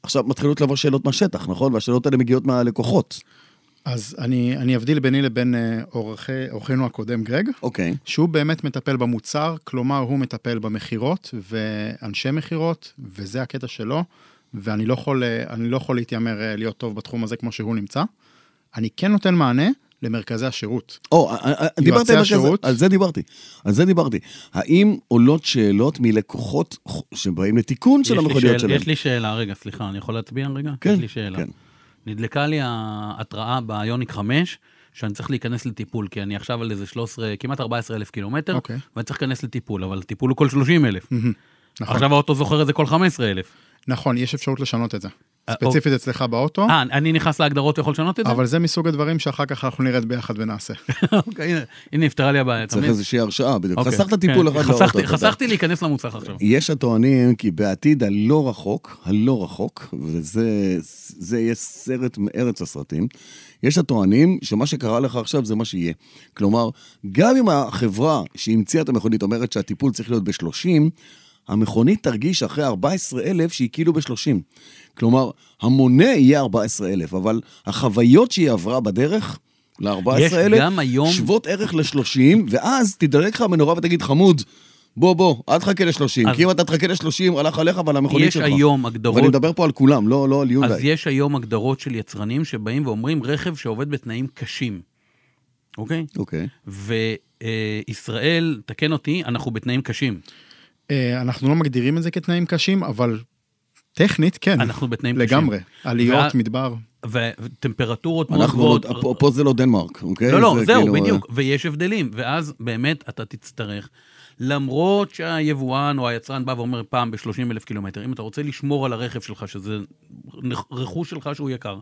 A: עכשיו מתחילות לבוא שאלות מהשטח, נכון? והשאלות האלה מגיעות מהלקוחות.
C: אז אני, אני אבדיל ביני לבין אה, עורכי- עורכנו הקודם, גרג,
A: אוקיי.
C: שהוא באמת מטפל במוצר, כלומר הוא מטפל במכירות ואנשי מכירות, וזה הקטע שלו, ואני לא יכול, אה, אני לא יכול להתיימר אה, להיות טוב בתחום הזה כמו שהוא נמצא. אני כן נותן מענה למרכזי השירות.
A: או, אה, אה, דיברתי על, כזה,
C: השירות.
A: על זה דיברתי, על זה דיברתי. האם עולות שאלות מלקוחות ח- שבאים לתיקון של
B: יש לי
A: המכוניות
B: שאל-
A: לא שלהם?
B: יש לי שאלה, רגע, סליחה, אני יכול להצביע רגע?
A: כן,
B: יש לי שאלה.
A: כן.
B: נדלקה לי ההתראה ביוניק 5, שאני צריך להיכנס לטיפול, כי אני עכשיו על איזה 13, כמעט 14 אלף קילומטר,
C: אוקיי.
B: ואני צריך להיכנס לטיפול, אבל הטיפול הוא כל 30 אלף.
C: נכון.
B: עכשיו האוטו זוכר את זה כל 15 אלף.
C: נכון, יש אפשרות לשנות את זה.
B: אה,
C: ספציפית אצלך באוטו,
B: אה, אני נכנס להגדרות ויכול לשנות את זה?
C: אבל זה מסוג הדברים שאחר כך אנחנו נרד ביחד ונעשה.
B: (laughs) אוקיי, הנה- הנה, נפתרה לי הבעיה. אתה
A: צריך
B: מבין?
A: איזושהי הרשאה, בדיוק.
B: אוקיי,
A: חסכת
B: כן.
A: טיפול אחד
B: חסכתי-
A: לאוטו. אתה יודע.
B: חסכתי להיכנס למוצר עכשיו.
A: יש הטוענים כי בעתיד הלא רחוק, הלא רחוק, וזה זה יהיה סרט מארץ הסרטים, יש הטוענים שמה שקרה לך עכשיו זה מה שיהיה. כלומר, גם אם החברה שהמציאה את המכונית אומרת שהטיפול צריך להיות ב-30, המכונית תרגיש אחרי 14,000 שהיא כאילו ב-30. כלומר, המונה יהיה 14,000, אבל החוויות שהיא עברה בדרך...
B: יש
A: ל-14,000,
B: גם היום-
A: שוות ערך ל-30, ואז תדלק לך המנורה ותגיד, חמוד, בוא, בוא, אל תחכה ל-30,
B: אז-
A: כי אם אתה תחכה ל-30, הלך עליך ועל המכונית
B: יש
A: שלך.
B: היום הגדרות-
A: ואני מדבר פה על כולם, לא לא על
B: אז
A: יונדאי.
B: יש היום הגדרות של יצרנים שבאים ואומרים רכב שעובד בתנאים קשים, אוקיי?
A: אוקיי.
B: וישראל, תקן אותי, אנחנו בתנאים קשים.
C: אה, אנחנו לא מגדירים את זה כתנאים קשים, אבל טכנית כן.
B: אנחנו בתנאים קשים.
C: לגמרי. עליות,
B: וה-
C: מדבר.
B: ו- וטמפרטורות מאוד
A: אנחנו, לא-
B: גבוהות.
A: פה- פה זה לא דנמרק, אוקיי?
B: לא, לא,
A: זה
B: זהו,
A: כאילו,
B: בדיוק. ויש הבדלים, ואז באמת אתה תצטרך, למרות שהיבואן או היצרן בא ואומר פעם ב-30 אלף קילומטר, אם אתה רוצה לשמור על הרכב שלך, שזה נכ- רכוש שלך שהוא יקר,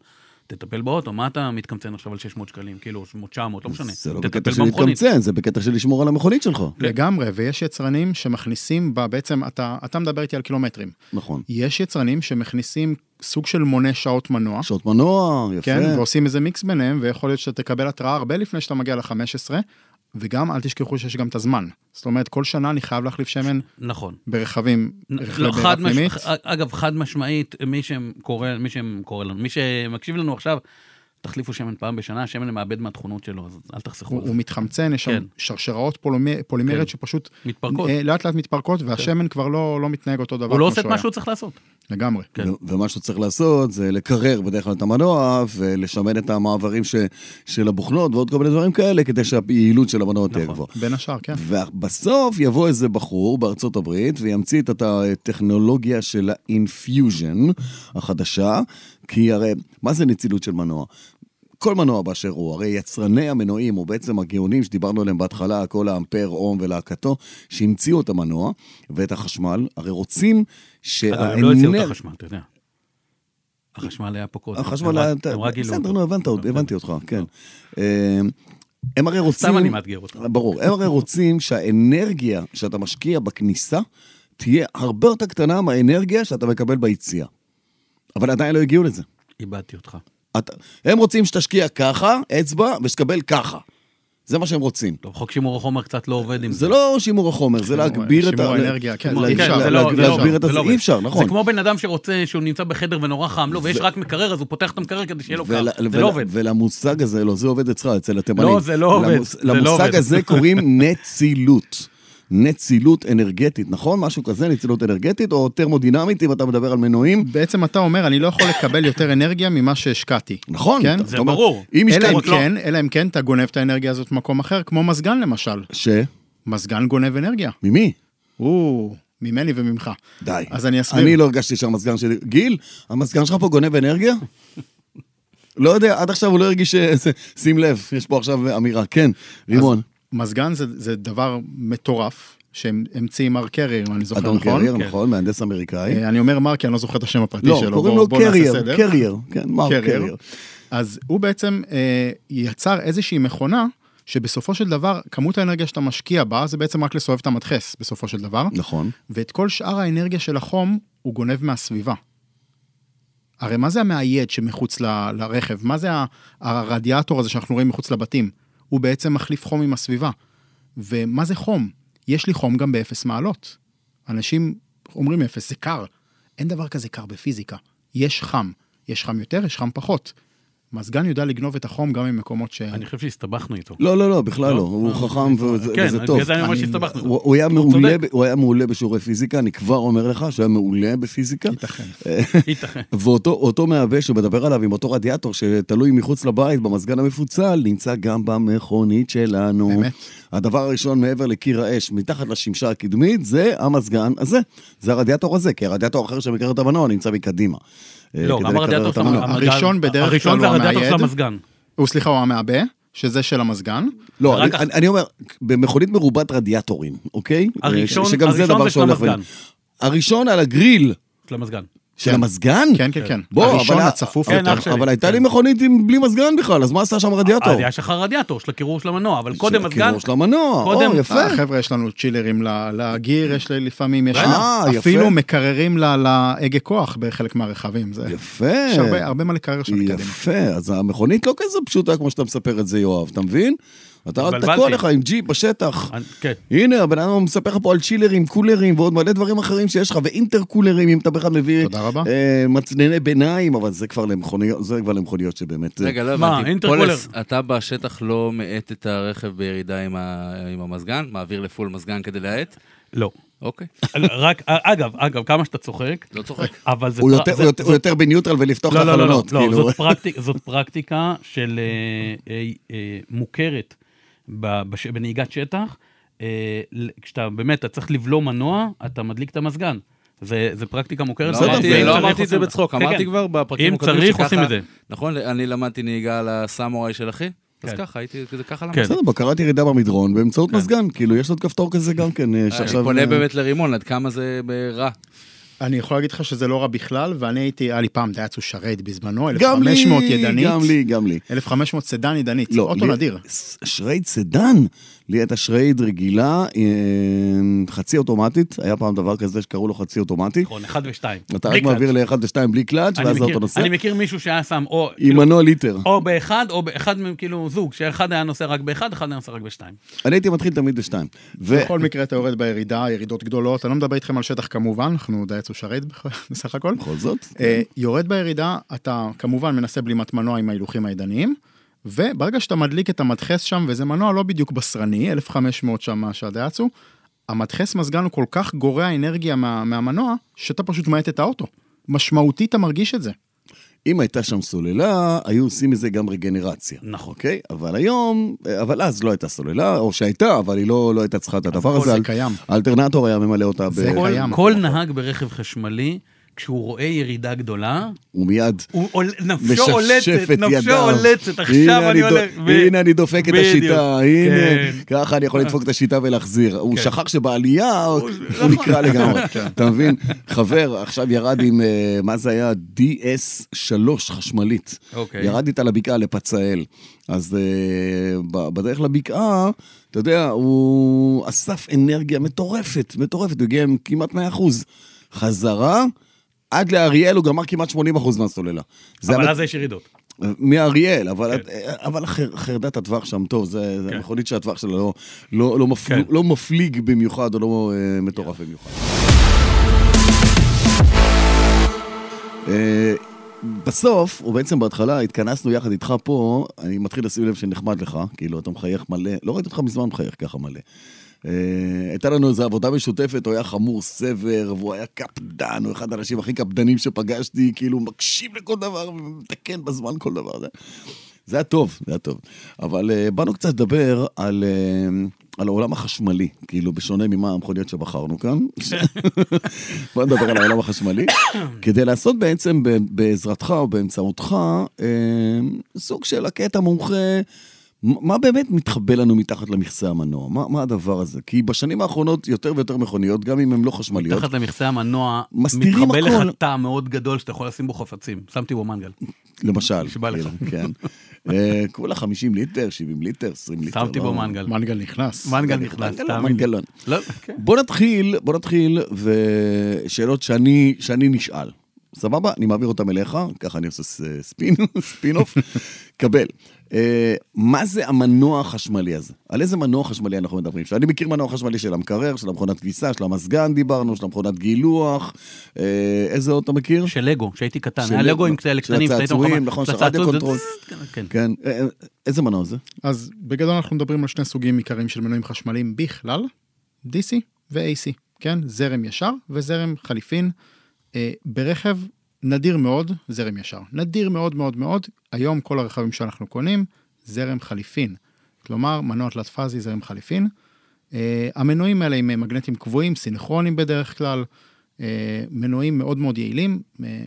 B: תטפל באוטו, מה אתה מתקמצן עכשיו על 600 שקלים, כאילו, 800, 900, לא
A: אה,
B: משנה.
A: זה לא
B: תטפל
A: בקטע של
B: במכונית.
A: להתקמצן, זה בקטע של לשמור על המכונית שלך.
C: לגמרי, ויש יצרנים שמכניסים, בה, בעצם אתה, אתה מדבר איתי על קילומטרים.
A: נכון.
C: יש יצרנים שמכניסים סוג של מונה שעות מנוע,
A: שעות מנוע, יפה.
C: כן, ועושים איזה מיקס ביניהם, ויכול להיות שאתה תקבל התראה הרבה לפני שאתה מגיע ל-15, וגם אל תשכחו שיש גם את הזמן. זאת אומרת, כל שנה אני חייב להחליף שמן
B: נכון.
C: ברכבים, רכבי
B: לא,
C: בעירה
B: חד מש...
C: פנימית.
B: אגב, חד משמעית, מי שקורא, מי שקורא לנו, מי שמקשיב לנו עכשיו, תחליפו שמן פעם בשנה, השמן מאבד מהתכונות שלו, אז אל תחסכו
C: הוא
B: על זה.
C: הוא מתחמצן, יש
B: כן.
C: שם שרשראות פולומי-
B: כן.
C: פולימריות שפשוט
B: מתפרקות. כן.
C: אה, לאט לאט מתפרקות, והשמן כבר לא לא מתנהג אותו דבר
B: הוא לא
C: כמו
B: עושה את
C: שהוא
B: מה
C: היה.
B: שהוא צריך לעשות.
A: אה,
C: לגמרי.
B: כן.
A: ו- ומה שצריך לעשות זה לקרר בדרך כלל את המנוע ולשמן את המעברים ש- של הבוכנות ועוד כל מיני דברים כאלה כדי שהיעילות של המנוע תהיה
B: נכון.
A: גבוהה.
C: בין השאר, כן.
A: ובסוף יבוא איזה בחור בארצות הברית וימציא את הטכנולוגיה של האינפיוז'ן החדשה, כי הרי, מה זה נצילות של מנוע? כל מנוע באשר הוא, הרי יצרני המנועים, או בעצם הגאונים שדיברנו עליהם בהתחלה, כל האמפר, אום ולהקתו, שהמציאו את המנוע ואת החשמל, הרי רוצים
B: אגב,
A: אה,
B: הם לא הציעו את
A: שהאנרגיה...
B: החשמל, אתה יודע. החשמל היה פה קודם.
A: החשמל
B: הם
A: היה...
B: רק- הם רק גילו
A: בסדר,
B: אותו. לא,
A: נו, הבנת אותי, הבנתי אותך, כן. אה, הם הרי רוצים... אה,
B: אני מאתגר אותך.
A: ברור. הם הרי רוצים שהאנרגיה שאתה משקיע בכניסה תהיה הרבה יותר קטנה מהאנרגיה שאתה מקבל ביציאה. אבל עדיין לא הגיעו לזה.
B: איבדתי אותך.
A: אתה- הם רוצים שתשקיע ככה, אצבע, ושתקבל ככה. זה מה שהם רוצים.
B: טוב, חוק שימור החומר קצת לא עובד עם זה.
A: זה לא שימור החומר, זה להגביר את ה...
C: שימור האנרגיה, כן,
A: לה-
C: אי אפשר,
B: כן,
A: לה-
B: זה לא-
A: לה-
B: זה לא
A: להגביר
B: עובד,
A: את
B: זה
A: הזה,
B: לא
A: אי
B: עובד.
A: אפשר, נכון.
B: זה כמו בן אדם שרוצה, שהוא נמצא בחדר ונורא חם לו, ויש רק מקרר, אז הוא פותח את המקרר כדי שיהיה לו קר.
A: ול-
B: זה
A: ול-
B: לא עובד.
A: ולמושג הזה, לא, זה עובד אצלך, אצל התימנים.
B: לא, זה לא עובד,
A: למוס-
B: זה לא
A: למושג
B: עובד.
A: הזה
B: (laughs)
A: קוראים נצילות. נצילות אנרגטית, נכון? משהו כזה, נצילות אנרגטית, או תרמודינמית, אם אתה מדבר על מנועים.
C: בעצם אתה אומר, אני לא יכול לקבל יותר אנרגיה ממה שהשקעתי.
A: נכון,
C: כן?
A: אתה-
B: זה
A: אתה אומר,
B: ברור.
A: אם לא.
C: אלא אם
A: השקעת...
B: לא.
C: כן, אלא אם כן אתה גונב את האנרגיה הזאת ממקום אחר, כמו מזגן למשל.
A: ש?
C: מזגן גונב אנרגיה.
A: ממי?
C: או, ממני וממך.
A: די.
C: אז אני אסביר.
A: אני לא הרגשתי שהמזגן שלי... גיל, המזגן שלך פה גונב אנרגיה? (laughs) לא יודע, עד עכשיו הוא לא הרגיש ש... שים לב, יש פה עכשיו אמירה. כן, רימון.
C: מזגן זה, זה דבר מטורף, שהמציא מר קרי, אם אני זוכר
A: אדון
C: נכון.
A: קרייר, נכון? מהנדס אמריקאי.
C: אה, אני אומר מר כי אני לא זוכר את השם הפרטי
A: לא,
C: שלו.
A: קוראים
C: בוא-
A: לו
C: בוא נעשה
A: קרייר,
C: סדר.
A: קרייר, כן, מר
C: קרייר.
A: קרייר.
C: אז הוא בעצם אה, יצר איזושהי מכונה שבסופו של דבר, כמות האנרגיה שאתה משקיע בה, זה בעצם רק לסובב את המדחס, בסופו של דבר.
A: נכון.
C: ואת כל שאר האנרגיה של החום, הוא גונב מהסביבה. הרי מה זה המאייד שמחוץ ל, לרכב? מה זה ה- הרדיאטור הזה שאנחנו רואים מחוץ לבתים? הוא בעצם מחליף חום עם הסביבה. ומה זה חום? יש לי חום גם באפס מעלות. אנשים אומרים אפס, זה קר. אין דבר כזה קר בפיזיקה. יש חם. יש חם יותר, יש חם פחות. מזגן יודע לגנוב את החום גם ממקומות ש...
B: אני חושב שהסתבכנו איתו.
A: לא, לא, לא, בכלל
B: לא?
A: לא. הוא
B: אה,
A: חכם וזה
B: כן,
A: וזה
B: אז
A: טוב.
B: בגלל זה אני אומר
A: אני-
B: שהסתבכנו.
A: הוא הוא היה
B: הוא
A: מעולה
B: צודק.
A: ב- הוא היה מעולה בשיעורי פיזיקה, אני כבר אומר לך שהוא היה מעולה בפיזיקה.
C: ייתכן.
B: ייתכן.
A: (laughs) ואותו אותו מעבה שמדבר עליו עם אותו רדיאטור שתלוי מחוץ לבית במזגן המפוצל, נמצא גם במכונית שלנו.
C: באמת?
A: הדבר הראשון מעבר לקיר האש, מתחת לשמשה הקדמית, זה המזגן הזה. זה הרדיאטור הזה, כי הרדיאטור האחר שמקרר את המנוע נמצא מקדימה. אה,
B: לא,
A: כדי
B: גם
A: לקרר
B: הרדיאטור
A: את
B: של
A: המנוע.
B: המזגן-
C: הראשון בדרך
B: הראשון
C: כלל
B: זה
C: הוא
B: הרדיאטור של
C: המאייד.
B: המזגן.
C: הוא, סליחה, הוא המעבה, שזה של המזגן.
A: לא,
B: ורק
A: אני,
B: אח-
A: אני, אני אומר, במכונית מרובת רדיאטורים, אוקיי?
B: הראשון-
A: אה, שגם זה
B: הראשון
A: דבר
B: זה של
A: שהולך
B: המזגן.
A: ו- הראשון על הגריל
B: של המזגן.
A: של
C: כן.
A: המזגן?
C: כן, כן, כן.
A: בוא,
C: הראשון
A: אבל-
C: הצפוף
B: כן,
C: יותר.
B: אח שלי.
A: אבל הייתה
B: כן. אה,
A: לי מכונית עם, בלי מזגן בכלל, אז מה עשה שם הרדיאטור?
B: אז יש לך רדיאטור של הקירור של המנוע, אבל קודם
A: של
B: מזגן,
A: הקירור של המנוע,
B: קודם-
A: או, יפה.
C: אה, חבר'ה, יש לנו צ'ילרים ל- לגיר, יש לי לפעמים, יש
A: אה, יפה.
C: אפילו מקררים ל- להגה כוח בחלק מהרכבים. זה-
A: יפה.
C: יש הרבה הרבה מה לקרר שם מקדימה.
A: יפה, אז המכונית לא כזה פשוטה כמו שאתה מספר את זה, יואב, אתה מבין? אתה רק
B: התבלבלתי.
A: תקוע לך עם ג'יפ בשטח.
B: אני- כן.
A: הנה, הבן אדם מספר לך פה על צ'ילרים, קולרים ועוד מלא דברים אחרים שיש לך, ואינטרקולרים, אם אתה בכלל מביא...
C: תודה רבה.
A: אה, מצנני ביניים, אבל זה כבר למכוניות, זה כבר למכוניות שבאמת... אה,
D: רגע, לא
B: מה,
D: הבנתי.
B: אינטרקולר?
D: פולס, אתה בשטח לא מאט את הרכב בירידה עם ה- עם המזגן? מעביר לפול מזגן כדי להאט?
B: לא. (laughs)
D: אוקיי,
B: רק, אגב, אגב, כמה שאתה צוחק,
D: לא
B: (laughs)
D: צוחק.
B: אבל זה...
A: הוא
B: פר-
A: יותר-
B: זה-
A: הוא יותר-
B: זה-
A: הוא יותר בניוטרל ולפתוח את
B: לא, לא, לא, לא,
A: החלונות,
B: לא,
A: כאילו.
B: זאת פרקטיק- זאת פרקטיקה של אה, אה, אה, מוכרת ב- בש- בנהיגת שטח. אה, ל- כשאתה באמת, אתה צריך לבלום מנוע, אתה מדליק את המזגן. זה זה פרקטיקה מוכרת.
D: לא
A: בסדר,
D: אמרתי-
A: זה-
B: ואם
D: לא
B: צריך,
D: אמרתי את זה
B: עושים
D: בצחוק,
B: כן, כן.
D: אמרתי כבר בפרקים
B: אם
D: הקודמים
B: צריך,
D: שככה-
B: עושים את זה.
D: נכון, אני למדתי נהיגה על הסמוראי של אחי, אז
B: כן.
D: ככה, הייתי, זה ככה
B: כן.
D: למדתי.
A: בסדר, בקרת ירידה במדרון באמצעות מזגן, כאילו, יש עוד כפתור כזה גם כן, אה,
D: אני
A: שעכשיו...
D: פונה
A: אה,
D: באמת לרימון, עד כמה זה רע.
C: אני יכול להגיד לך שזה לא רע בכלל, ואני הייתי, היה לי פעם דייצו שרת בזמנו,
A: גם לי,
C: 1500 ידנית,
A: גם לי, לא, גם לי.
C: 1500 סדן ידנית, אוטו
A: לי-
C: נדיר.
A: ס- שרייד סדן. לי הייתה שרייד רגילה, אה, חצי אוטומטית, היה פעם דבר כזה שקראו לו חצי אוטומטי.
B: נכון, אחד ושתיים.
A: אתה
B: בלי
A: רק מעביר
B: קלאץ'.
A: לאחד ושתיים בלי קלאץ',
B: אני
A: ואז
B: מכיר-
A: האוטו נוסע.
B: אני מכיר מישהו שהיה שם או...
A: עם
B: כאילו,
A: מנוע ליטר.
B: או באחד, או באחד מהם, כאילו זוג, שאחד היה נוסע רק באחד, אחד היה נוסע רק בשתיים.
A: אני הייתי מתחיל תמיד בשתיים. ו-
B: נכון.
C: בכל מקרה אתה יורד בירידה, ירידות גדולות, אני לא מדבר איתכם על שטח כמובן, אנחנו דייצו שרת בכ- (laughs) בסך הכל.
A: בכל זאת,
C: אה, יורד בירידה, אתה כמובן מנסה בלימת מנוע עם ההילוכים הידניים, וברגע שאתה מדליק את המדחס שם, וזה מנוע לא בדיוק בשרני, 1500 שם מה שהדייצו, המדחס מזגן הוא כל כך גורע אנרגיה מה, מהמנוע, שאתה פשוט מאט את האוטו. משמעותית אתה מרגיש את זה.
A: אם הייתה שם סוללה, היו עושים מזה גם רגנרציה.
B: נכון.
A: אוקיי? אבל היום, אבל אז לא הייתה סוללה, או שהייתה, אבל היא לא לא הייתה צריכה את הדבר הזה.
C: זה
A: אל-
C: קיים.
A: האלטרנטור היה ממלא אותה ב...
C: זה
B: כל-
C: קיים.
B: כל נהג ברכב חשמלי, כשהוא רואה ירידה גדולה,
A: ומיד
B: הוא עול- נפשו
A: משפשף את
B: עולצת, נפשו
A: ידיו.
B: עולצת,
A: הנה
B: עכשיו אני
A: דו-
B: הולך... ו-
A: הנה אני דופק את
B: בדיוק.
A: השיטה, הנה,
B: כן.
A: ככה אני יכול לדפוק את השיטה ולהחזיר. הוא שכח שבעלייה הוא הוא
B: (laughs)
A: נקרע לגמרי, אתה מבין? חבר עכשיו ירד עם, אה, מה זה היה? DS3 חשמלית.
B: אוקיי.
A: ירד איתה לבקעה לפצאל. אז אה, ב- בדרך לבקעה, אתה יודע, הוא אסף אנרגיה מטורפת, מטורפת, הוא הגיע עם כמעט 100%. חזרה, עד לאריאל הוא גמר כמעט 80% מהסוללה. זה
B: אבל
A: המת-
B: אז יש ירידות.
A: מאריאל, אבל, אה, אבל חר, חרדת הטווח שם טוב, זה, זה
B: כן.
A: המכונית שהטווח שלה לא, לא, לא, מפל,
B: כן.
A: לא מפליג במיוחד או לא אה, מטורף במיוחד. אה, בסוף, או בעצם בהתחלה, התכנסנו יחד איתך פה, אני מתחיל לשים לב שנחמד לך, כאילו, אתה מחייך מלא, לא ראיתי אותך מזמן מחייך ככה מלא. אה, הייתה לנו איזו עבודה משותפת, הוא היה חמור סבר, והוא היה קפדן, הוא אחד האנשים הכי קפדנים שפגשתי, כאילו, מקשיב לכל דבר ומתקן בזמן כל דבר. זה, זה היה טוב, זה היה טוב. אבל אה, באנו קצת לדבר על, אה, על העולם החשמלי, כאילו, בשונה ממה המכוניות שבחרנו
B: (laughs)
A: כאן. בוא נדבר על העולם החשמלי. כדי לעשות בעצם ב- בעזרתך או באמצעותך, אה, סוג של הקטע מומחה, מ- מה באמת מתחבא לנו מתחת למכסה המנוע? מה, מה הדבר הזה? כי בשנים האחרונות יותר ויותר מכוניות, גם אם הן לא חשמליות,
B: מתחת למכסה המנוע,
A: מסתירים
B: מתחבא
A: הכל.
B: לך תא מאוד גדול שאתה יכול לשים בו חפצים. שמתי בו מנגל.
A: למשל.
B: נשבע לך.
A: כאילו, (laughs) כן. אה, כולה 50 ליטר, 70 ליטר, 20 ליטר.
B: שמתי
A: לא- כן,
B: בו מנגל.
C: מנגל נכנס.
B: מנגל נכנס,
A: מנגלון,
B: תאמין לי.
A: מנגלון.
B: לא, כן.
A: בוא נתחיל, בוא נתחיל, ושאלות שאני, שאני נשאל. סבבה? אני מעביר אותן אליך, ככה אני עושה ס- ספין, (laughs) ספינוף. קבל. אה, מה זה המנוע החשמלי הזה? על איזה מנוע חשמלי אנחנו מדברים? שאני מכיר מנוע חשמלי של המקרר, של המכונת כביסה, של המזגן דיברנו, של המכונת גילוח. אה, איזה עוד אתה מכיר?
B: של לגו, כשהייתי קטן,
A: של
B: היה
A: לגו,
B: לגו עם כאלה
A: של
B: קטנים, שהיית
A: הצעצועים,
B: מחמם-
A: נכון,
B: של
A: של רדיו
B: הצעצועים,
A: קונטרול.
B: זה- כן,
A: כן. אה, אה, איזה מנוע זה?
C: אז בגדול אנחנו מדברים על שני סוגים עיקריים של מנועים חשמליים בכלל, DC ו-AC, כן? זרם ישר וזרם חליפין. אה, ברכב נדיר מאוד זרם ישר. נדיר מאוד מאוד מאוד. היום כל הרכבים שאנחנו קונים, זרם חליפין. כלומר, מנוע תלת פאזי זרם חליפין. אה, המנועים האלה הם מגנטים קבועים, סינכרונים בדרך כלל, אה, מנועים מאוד מאוד יעילים, אה,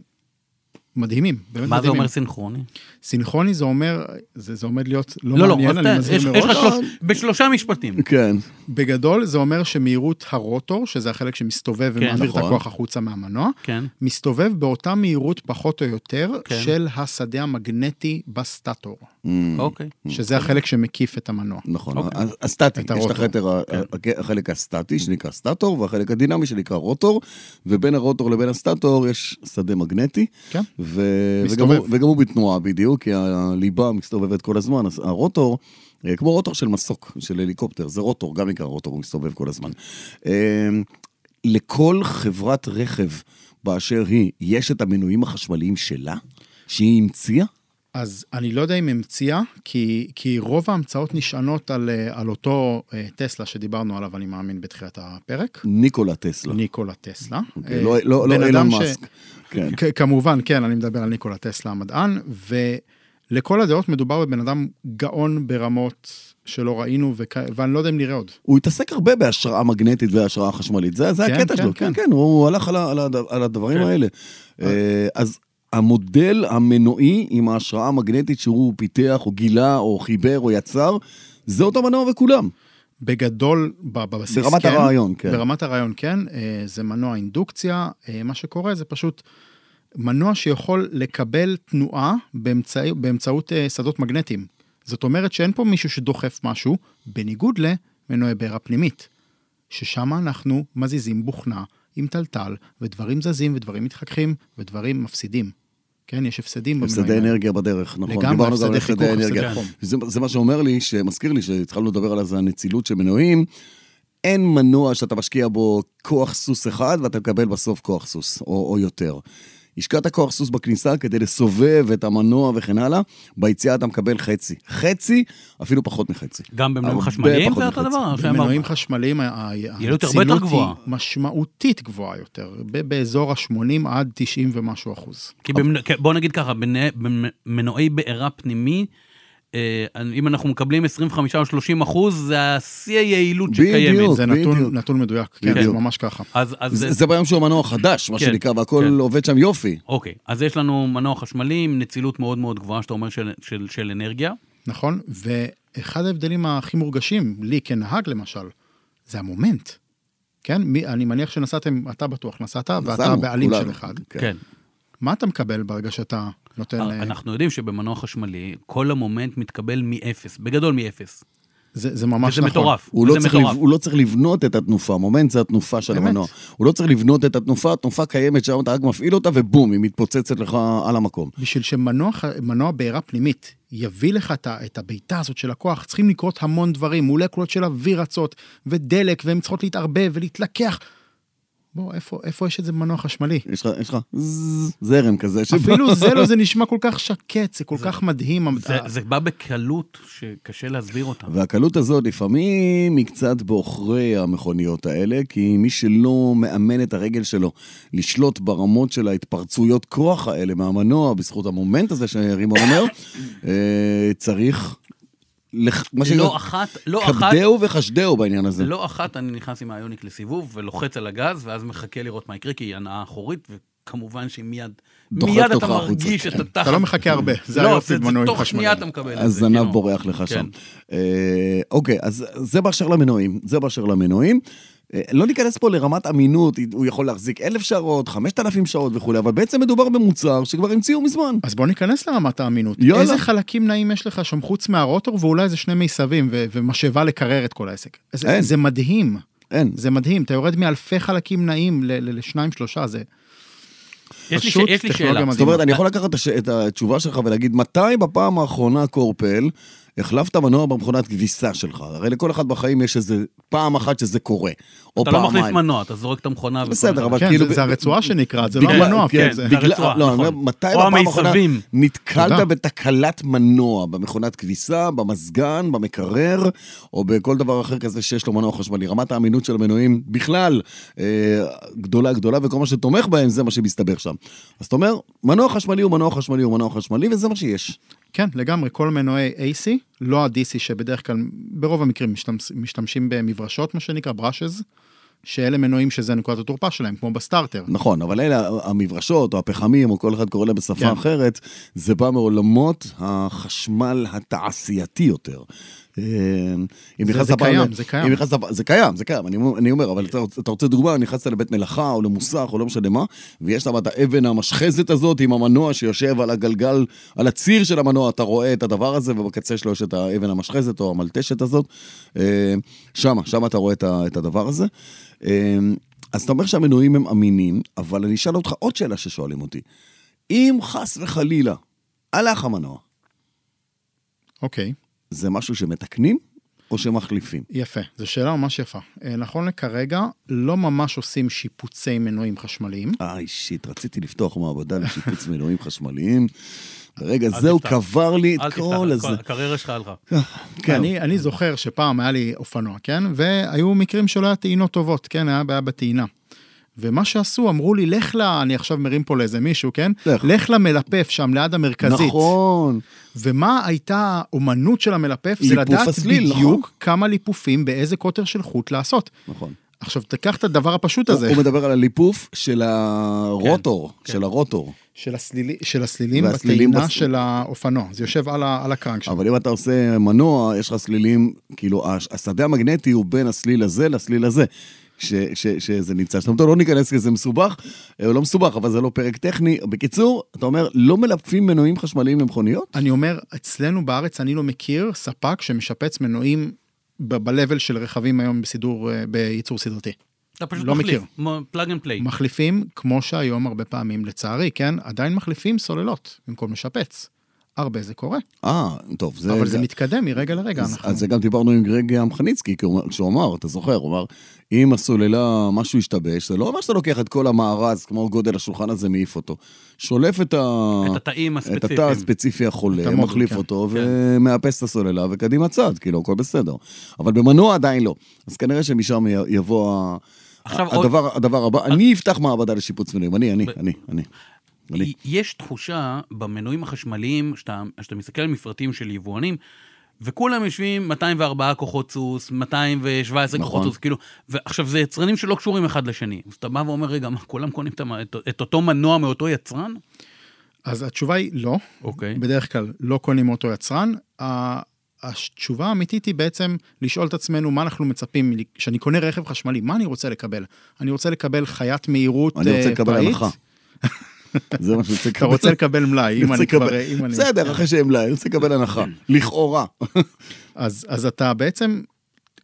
C: מדהימים, באמת
B: מה זה
C: מדהימים.
B: אומר סינכרוני?
C: סינכרוני זה אומר, זה, זה עומד להיות לא,
B: לא, לא,
C: מעניין,
B: רק לא-
C: אני
B: ת-
C: מזהיר
B: יש-
C: מראש.
B: יש לך שלוש- בשלושה משפטים.
A: כן.
C: בגדול זה אומר שמהירות הרוטור, שזה החלק שמסתובב
B: כן,
C: ומעביר
A: נכון.
C: את הכוח החוצה מהמנוע,
B: כן.
C: מסתובב באותה מהירות פחות או יותר
B: כן.
C: של השדה המגנטי בסטטור,
A: אה,
B: אוקיי.
C: שזה החלק שמקיף את המנוע.
A: נכון,
B: אוקיי.
A: אז- הסטטי, יש
C: את
A: את
C: הרוטור,
A: החלק, ה- ה- החלק הסטטי שנקרא סטטור והחלק הדינמי שנקרא רוטור, ובין הרוטור לבין הסטטור יש שדה מגנטי,
C: כן.
A: ו- וגם,
C: מסתובב.
A: הוא, וגם הוא בתנועה בדיוק, כי הליבה מסתובבת כל הזמן, אז הרוטור, אה, כמו רוטור של מסוק, של הליקופטר, זה רוטור, גם נקרא רוטור, הוא מסתובב כל הזמן. אה, לכל חברת רכב באשר היא, יש את המנועים החשמליים שלה, שהיא המציאה?
C: אז אני לא יודע אם המציאה, כי, כי רוב ההמצאות נשענות על, אה, על אותו אה, טסלה שדיברנו עליו, אני מאמין, בתחילת הפרק,
A: ניקולה טסלה.
C: ניקולה טסלה.
A: לא. אוקיי,
C: אה,
A: לא, לא, לא
C: בן
A: אילון
C: אדם
A: מאסק. כן.
C: כ- כמובן, כן, אני מדבר על ניקולה טסלה המדען, ולכל הדעות מדובר בבן אדם גאון ברמות שלא ראינו, וכ... ואני לא יודע אם נראה עוד.
A: הוא התעסק הרבה בהשראה מגנטית והשראה חשמלית, זה, זה
C: כן,
A: הקטע
C: כן,
A: שלו, כן,
C: כן.
A: כן, הוא הלך על, ה- על, הד- על הדברים האלה. אה, אז המודל המנועי עם ההשראה המגנטית שהוא פיתח, או גילה, או חיבר, או יצר, זה אותו מנוע וכולם.
C: בגדול, ב- בבסיס,
A: ברמת
C: כן.
A: הרעיון, כן.
C: ברמת הרעיון, כן. אה, זה מנוע אינדוקציה, אה, מה שקורה זה פשוט מנוע שיכול לקבל תנועה באמצע... באמצעות אה, שדות מגנטיים. זאת אומרת שאין פה מישהו שדוחף משהו, בניגוד למנועי בעירה פנימית, ששם אנחנו מזיזים בוכנה עם טלטל, ודברים זזים, ודברים מתחככים, ודברים מפסידים. כן, יש הפסדים
A: הפסדי
C: האלה.
A: אנרגיה בדרך, נכון.
C: לגמרי,
A: דיברנו גם על
C: הפסדי
A: הפסדי
C: חיכוך,
A: אנרגיה.
C: הפסדי חום.
A: זה, זה מה שאומר לי, שמזכיר לי שהתחלנו לדבר על אז הנצילות של מנועים. אין מנוע שאתה משקיע בו כוח סוס אחד ואתה מקבל בסוף כוח סוס, או, או יותר. השקעת כוח סוס בכניסה כדי לסובב את המנוע וכן הלאה, ביציאה אתה מקבל חצי. חצי, אפילו פחות מחצי.
B: גם במנועים
A: הרבה
B: חשמליים
A: פחות
B: זה אותו
A: מחצי.
B: דבר. עכשיו אמרנו.
C: במנועים חשמליים ה- ה-
B: יעילות הרבה יותר
C: הנצילות
B: גבוהה.
C: היא משמעותית גבוהה יותר, ב- באזור ה-80 עד 90 ומשהו אחוז.
B: כי במנוע- כן, בוא נגיד ככה, בנ- במנועי בעירה פנימי, אה, אם אנחנו מקבלים 25 או 30 אחוז, זה השיא היעילות שקיימת.
A: בדיוק.
C: זה נתון,
A: בדיוק.
C: נתון מדויק, כן, זה
A: בדיוק.
C: ממש ככה.
B: אז אז
A: זה, זה ביום שהוא מנוע חדש, מה
B: כן,
A: שנקרא, והכל
B: כן.
A: עובד שם יופי.
B: אוקיי, אז יש לנו מנוע חשמלי עם נצילות מאוד מאוד גבוהה, שאתה אומר של, של, של אנרגיה.
C: נכון? ואחד ההבדלים הכי מורגשים, לי כנהג למשל, זה המומנט. כן? מי, אני מניח שנסעתם, אתה בטוח נסעת, ואתה
A: נסענו,
C: הבעלים של
A: כולנו.
C: אחד.
A: כן.
C: מה אתה מקבל ברגע שאתה נותן...
B: אה,
C: אה,
B: אנחנו יודעים שבמנוע חשמלי, כל המומנט מתקבל מאפס, בגדול מאפס.
C: זה, זה ממש
B: וזה
C: נכון.
B: מטורף.
A: הוא לא,
B: וזה
A: צריך לב,
B: מטורף.
A: הוא לא צריך לבנות את התנופה, מומנט זה התנופה של
C: אמת.
A: המנוע. הוא לא צריך לבנות את התנופה, התנופה קיימת שם, אתה רק מפעיל אותה ובום, היא מתפוצצת לך על המקום.
C: בשביל שמנוע ח- מנוע בעירה פנימית יביא לך את ה- את הבעיטה הזאת של הכוח, צריכים לקרות המון דברים, מולקולות של אוויר רצות, ודלק, והן צריכות להתערבב ולהתלקח. בוא, איפה, איפה יש איזה מנוע חשמלי?
A: יש לך, יש לך ז- זרם כזה שבא.
C: אפילו זה לא, זה נשמע כל כך שקט, זה כל כך מדהים.
A: לא-
C: המד-
A: אה.
B: זה, זה בא בקלות שקשה להסביר אותה.
A: (laughs) והקלות הזאת לפעמים היא קצת בעוכרי המכוניות האלה, כי מי שלא מאמן את הרגל שלו לשלוט ברמות של ההתפרצויות כוח האלה מהמנוע, בזכות המומנט הזה שרימון
B: (coughs)
A: אומר, אה, צריך, לח- מה שנקרא,
B: לא אחת, לא אחת,
A: כבדהו וחשדהו בעניין הזה.
B: לא אחת אני נכנס עם האיוניק לסיבוב ולוחץ על הגז, ואז מחכה לראות מה יקרה, כי היא הנאה אחורית, וכמובן שמיד,
A: דוחפת
B: מיד
A: אותך
B: אתה
A: החוצה,
B: מרגיש את
A: כן.
B: התחת.
C: אתה לא מחכה הרבה, זה
B: לא,
C: היופי במנועים
B: תוך שנייה אתה
C: חשמליים.
B: מקבל את זה.
A: הזנב
B: כאילו.
A: בורח לך
B: כן.
A: שם. אה, אוקיי, אז זה באשר למנועים. זה באשר למנועים. אה, לא ניכנס פה לרמת אמינות, הוא יכול להחזיק אלף שעות, חמשת אלפים שעות וכולי, אבל בעצם מדובר במוצר שכבר המציאו מזמן.
C: אז בוא ניכנס לרמת האמינות.
A: יאללה.
C: יאללה. איזה חלקים נעים יש לך שם חוץ מהרוטור ואולי איזה שני מיסבים ו- ומשאבה לקרר את כל העסק.
A: אין.
C: זה, זה מדהים,
A: אין.
C: זה מדהים. אתה יורד מאלפי חלקים נעים ל- ל- לשניים שלושה, זה
B: יש לי ש-
C: פשוט
B: יש לי
C: טכנולוגיה
B: שאלה.
C: מדהימה.
A: זאת אומרת, אני יכול לקחת את הש- את התשובה שלך ולהגיד, מתי בפעם האחרונה, קורפל, החלפת מנוע במכונת כביסה שלך? הרי לכל אחד בחיים יש איזה פעם אחת שזה קורה, או
B: אתה לא
A: פעמיים.
B: מחליף מנוע, אתה זורק את המכונה. וכל
A: בסדר,
B: מיני-
A: אבל
C: כן,
A: כאילו...
C: זה, זה הרצועה שנקראת, זה לא
A: בגלל-
C: המנוע.
A: כן,
C: כן, זה...
A: בגלל-
B: הרצועה,
A: לא, אני
B: נכון.
A: אומר, מתי
B: או
A: בפעם האחרונה
B: המיזבים.
A: נתקלת
C: תודה.
A: בתקלת מנוע, במכונת כביסה, במזגן, במקרר, או בכל דבר אחר כזה שיש לו מנוע חשמלי. רמת האמינות של המנועים בכלל אה, גדולה גדולה, וכל מה שתומך בהם זה מה שמסתבר שם. אז אתה אומר, מנוע חשמלי הוא מנוע חשמלי הוא מנוע חשמלי, וזה מה שיש.
C: כן, לגמרי, כל מנועי AC, לא ה-DC שבדרך כלל, ברוב המקרים משתמש, משתמשים במברשות, מה שנקרא brushes, שאלה מנועים שזה נקודת התורפה שלהם, כמו בסטארטר.
A: נכון, אבל אלה המברשות, או הפחמים, או כל אחד קורא להם בשפה
C: כן.
A: אחרת, זה בא מעולמות החשמל התעשייתי יותר. אה, אם
C: זה-
A: נכנסת
C: זה
A: פעם-
C: קיים, זה קיים.
A: אם נכנסת פעם- זה קיים, זה קיים, אני אומר- אני אומר, אבל אתה רוצה- אתה רוצה דוגמה, נכנסת לבית מלאכה או למוסך או לא משנה מה, ויש שם את האבן המשחזת הזאת עם המנוע שיושב על הגלגל, על הציר של המנוע, אתה רואה את הדבר הזה, ובקצה שלו יש את האבן המשחזת או המלטשת הזאת. אה, שמה, שמה אתה רואה את ה- את הדבר הזה. אה, אז אתה אומר שהמנועים הם אמינים, אבל אני אשאל אותך עוד שאלה ששואלים אותי. אם חס וחלילה הלך המנוע,
C: אוקיי,
A: זה משהו שמתקנים או שמחליפים?
C: יפה, זו שאלה ממש יפה. אה, נכון לכרגע, לא ממש עושים שיפוצי מנועים חשמליים.
A: איי, שיט, אה, רציתי לפתוח מעבדה לשיפוץ מנועים חשמליים. ברגע זה
B: אל
A: הוא
B: תפתח.
A: קבר לי
B: אל
A: את
B: תפתח,
A: כל הזה.
B: הקריירה שלך הלכה.
A: כן.
C: אני, אני זוכר שפעם היה לי אופנוע, כן? והיו מקרים שלא היה טעינות טובות, כן? היה בעיה בטעינה. ומה שעשו, אמרו לי, לך ל... אני עכשיו מרים פה לאיזה מישהו, כן?
A: לך.
C: לך, לך למלפף שם, ליד המרכזית.
A: נכון.
C: ומה הייתה האומנות של המלפף? זה
A: ליפוף
C: לדעת
A: הסליל,
C: בדיוק
A: נכון?
C: כמה ליפופים, באיזה קוטר של חוט לעשות.
A: נכון.
C: עכשיו, תיקח את הדבר הפשוט
A: הוא
C: הזה,
A: הוא מדבר על הליפוף של הרוטור, של הרוטור.
C: של, הסלילי, של הסלילים
A: והסלילים
C: בטעינה
A: בס-
C: של האופנוע. זה יושב על, ה, על הקרנק שם.
A: אבל אם אתה עושה מנוע, יש לך סלילים, כאילו, הש- השדה המגנטי הוא בין הסליל הזה לסליל הזה. ש, ש, שזה נמצא שם. טוב, לא ניכנס כי זה מסובך, אה, לא מסובך, אבל זה לא פרק טכני. בקיצור, אתה אומר, לא מלפפים מנועים חשמליים למכוניות?
C: אני אומר, אצלנו בארץ אני לא מכיר ספק שמשפץ מנועים ב- ב-level של רכבים היום בסידור, אה, בייצור סדרתי.
B: אתה פשוט
C: לא
B: מחליף,
C: מכיר.
B: פלאג אנד פליי.
C: מחליפים, כמו שהיום הרבה פעמים, לצערי, כן? עדיין מחליפים סוללות במקום לשפץ. הרבה זה קורה,
A: אה, טוב, זה...
C: אבל זה
A: גם-
C: מתקדם מרגע לרגע.
A: אז,
C: אנחנו-
A: אז זה גם דיברנו עם גרג עמחניצקי, כי הוא אמר- כשהוא אמר, אתה זוכר, הוא אמר, אם הסוללה, משהו השתבש, זה לא אומר שאתה לוקח את כל המארז, כמו גודל השולחן הזה, מעיף אותו. שולף את ה...
B: את התאים
A: אה, את התא
B: הספציפיים.
A: הספציפי
C: את
A: החולה,
C: המודול,
A: מחליף
C: כן.
A: אותו ומאפס את הסוללה וקדימה צעד, כאילו, הכל בסדר. אבל במנוע עדיין לא. אז כנראה שמשם י- יבוא ה-
B: עכשיו עוד-
A: הדבר, הדבר הבא. אני אפתח מעבדה לשיפוץ מנועים, אני, אני,
B: ב-
A: אני, אני. אני.
B: יש תחושה במנועים החשמליים, שאתה, שאתה מסתכל על מפרטים של יבואנים, וכולם יושבים 204 כוחות סוס, 217
A: נכון.
B: כוחות סוס, כאילו, ועכשיו זה יצרנים שלא קשורים אחד לשני. אז אתה בא ואומר, רגע, מה, כולם קונים את, המ- את, את אותו מנוע מאותו יצרן?
C: אז התשובה היא לא.
B: אוקיי.
C: בדרך כלל לא קונים מאותו יצרן. ה- התשובה האמיתית היא בעצם לשאול את עצמנו מה אנחנו מצפים, מלי- כשאני קונה רכב חשמלי, מה אני רוצה לקבל? אני רוצה לקבל חיית מהירות
A: אני רוצה
C: אה,
A: לקבל
C: פראית?
A: הנחה. (laughs) זה מה שאני רוצה לקבל.
C: אתה רוצה לקבל מלאי, אם
A: רוצה
C: אני כבר... אה,
A: לקבל-
C: אם אני-
A: בסדר, אחרי שהם לא, אני רוצה לקבל הנחה. לכאורה.
C: אז, אז אתה בעצם,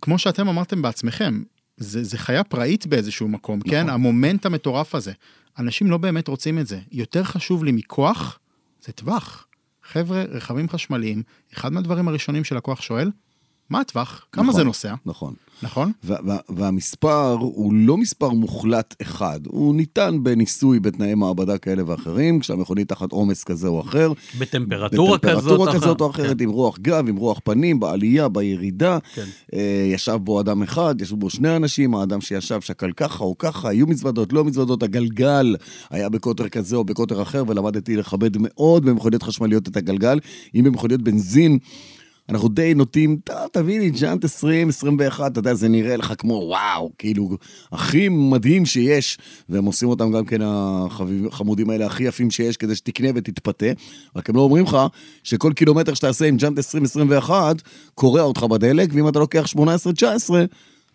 C: כמו שאתם אמרתם בעצמכם, זה, זה חיה פראית באיזשהו מקום, נכון. כן? המומנט המטורף הזה. אנשים לא באמת רוצים את זה. יותר חשוב לי מכוח, זה טווח. חבר'ה, רכבים חשמליים, אחד מהדברים הראשונים שלקוח שואל, מה הטווח? כמה
A: נכון,
C: זה נוסע?
A: נכון.
C: נכון?
A: וה- וה- והמספר הוא לא מספר מוחלט אחד, הוא ניתן בניסוי בתנאי מעבדה כאלה ואחרים, כשהמכונית תחת עומס כזה או אחר.
B: בטמפרטורה כזאת.
A: בטמפרטורה כזאת או
B: אחת.
A: אחרת, עם רוח גב, עם רוח פנים, בעלייה, בירידה.
B: כן.
A: אה, ישב בו אדם אחד, ישבו בו שני אנשים, האדם שישב שקל ככה או ככה, היו מזוודות, לא מזוודות, הגלגל היה בקוטר כזה או בקוטר אחר, ולמדתי לכבד מאוד במכוניות חשמליות את הגלגל. אם במכוניות בנזין, אנחנו די נוטים, "ת- תביא לי ג'אנט 20, 21, אתה יודע, זה נראה לך כמו וואו, כאילו, הכי מדהים שיש, והם עושים אותם גם כן החמודים האלה הכי יפים שיש, כדי שתקנה ותתפתה, רק הם לא אומרים לך שכל קילומטר שאתה עושה עם ג'אנט 20, 21, קורע אותך בדלק, ואם אתה לוקח 18, 19,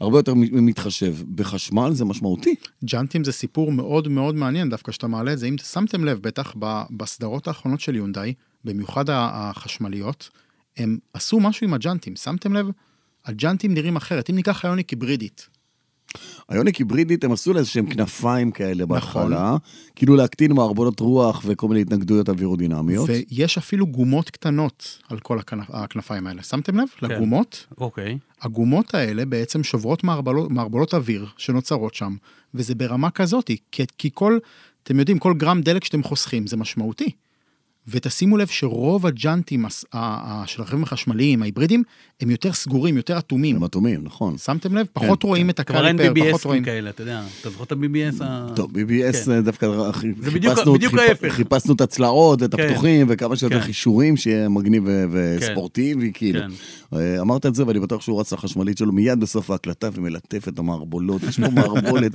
A: הרבה יותר מ- מתחשב. בחשמל זה משמעותי.
C: ג'אנטים זה סיפור מאוד מאוד מעניין דווקא שאתה מעלה את זה. אם שמתם לב, בטח ב- בסדרות האחרונות של יונדאי, במיוחד ה- החשמליות, הם עשו משהו עם הג'אנטים. שמתם לב? הג'אנטים נראים אחרת. אם ניקח היוניק היברידית,
A: היונק היברידית, הם עשו לה איזשהם כנפיים כאלה בהתחלה, כאילו להקטין מערבונות רוח וכל מיני התנגדויות אווירודינמיות.
C: ויש אפילו גומות קטנות על כל הכנף, הכנפיים האלה. שמתם לב?
B: כן.
C: לגומות?
B: אוקיי.
C: הגומות האלה בעצם שוברות מערבלות, מערבלות אוויר שנוצרות שם, וזה ברמה כזאת, כי, כי כל, אתם יודעים, כל גרם דלק שאתם חוסכים זה משמעותי. ותשימו לב שרוב הג'אנטים הס- ה- ה- של הרכבים החשמליים, ההיברידים, הם יותר סגורים, יותר אטומים.
A: הם אטומים, נכון.
C: שמתם לב? פחות רואים את
B: כבר אין
C: הקליפר, פחות
B: BBS
C: רואים.
B: כאלה, אתה יודע. אתה זוכר את ה-BBS ה...
A: טוב, BBS
B: כן.
A: כן. דווקא חי-
B: זה בדיוק-
A: חיפשנו,
B: בדיוק
A: חיפ-
B: ההפך.
A: חיפשנו את הצלעות ואת
B: כן.
A: הפתוחים וכמה שיותר
B: כן.
A: חישורים שיהיה מגניב ו-
B: כן.
A: וספורטיבי, כאילו.
B: כן.
A: אה, אמרת את זה ואני בטוח שהוא רץ לחשמלית שלו מיד בסוף ההקלטה ומלטף את המערבולות, יש פה
B: (laughs)
A: מערבולת,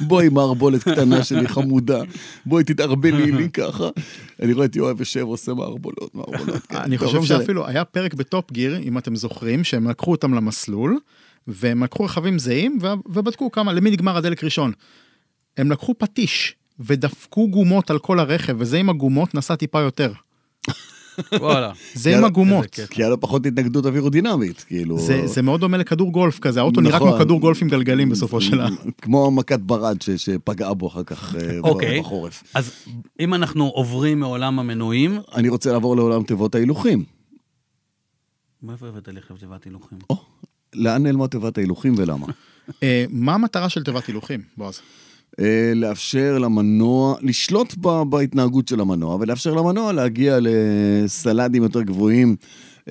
A: בואי מערבולת קטנה שלי חמודה, בואי תתערבלי לי ככה. אני רואה את יואב יושב עושה מערבולות, מערבולות. כן.
C: אני
A: טוב,
C: חושב
A: לא משנה.
C: שאפילו היה פרק בטופ גיר, אם אתם זוכרים, שהם לקחו אותם למסלול, והם לקחו רכבים זהים, ו- ובדקו כמה, למי נגמר הדלק ראשון. הם לקחו פטיש, ודפקו גומות על כל הרכב, וזה עם הגומות נסע טיפה יותר.
B: וואלה.
C: זה עם
A: יאללה,
C: הגומות.
B: איזה קטע.
A: כי היה לו פחות התנגדות אווירודינמית, כאילו.
C: זה, זה מאוד דומה לכדור גולף כזה, האוטו נראה
A: נכון.
C: כמו כדור גולף עם גלגלים
A: (laughs)
C: בסופו של ה...
A: כמו מכת ברד ש- שפגעה בו אחר כך אה,
B: אוקיי.
A: בחורף.
B: אז אם אנחנו עוברים מעולם המנויים...
A: אני רוצה לעבור לעולם תיבות ההילוכים.
B: מאיפה הבאת לי חבזבת הילוכים?
A: או, לאן נעלמה תיבת ההילוכים ולמה?
C: אה, מה המטרה של תיבת הילוכים, בועז?
A: אה, לאפשר למנוע, לשלוט ב- בהתנהגות של המנוע, ולאפשר למנוע להגיע לסלדים יותר גבוהים.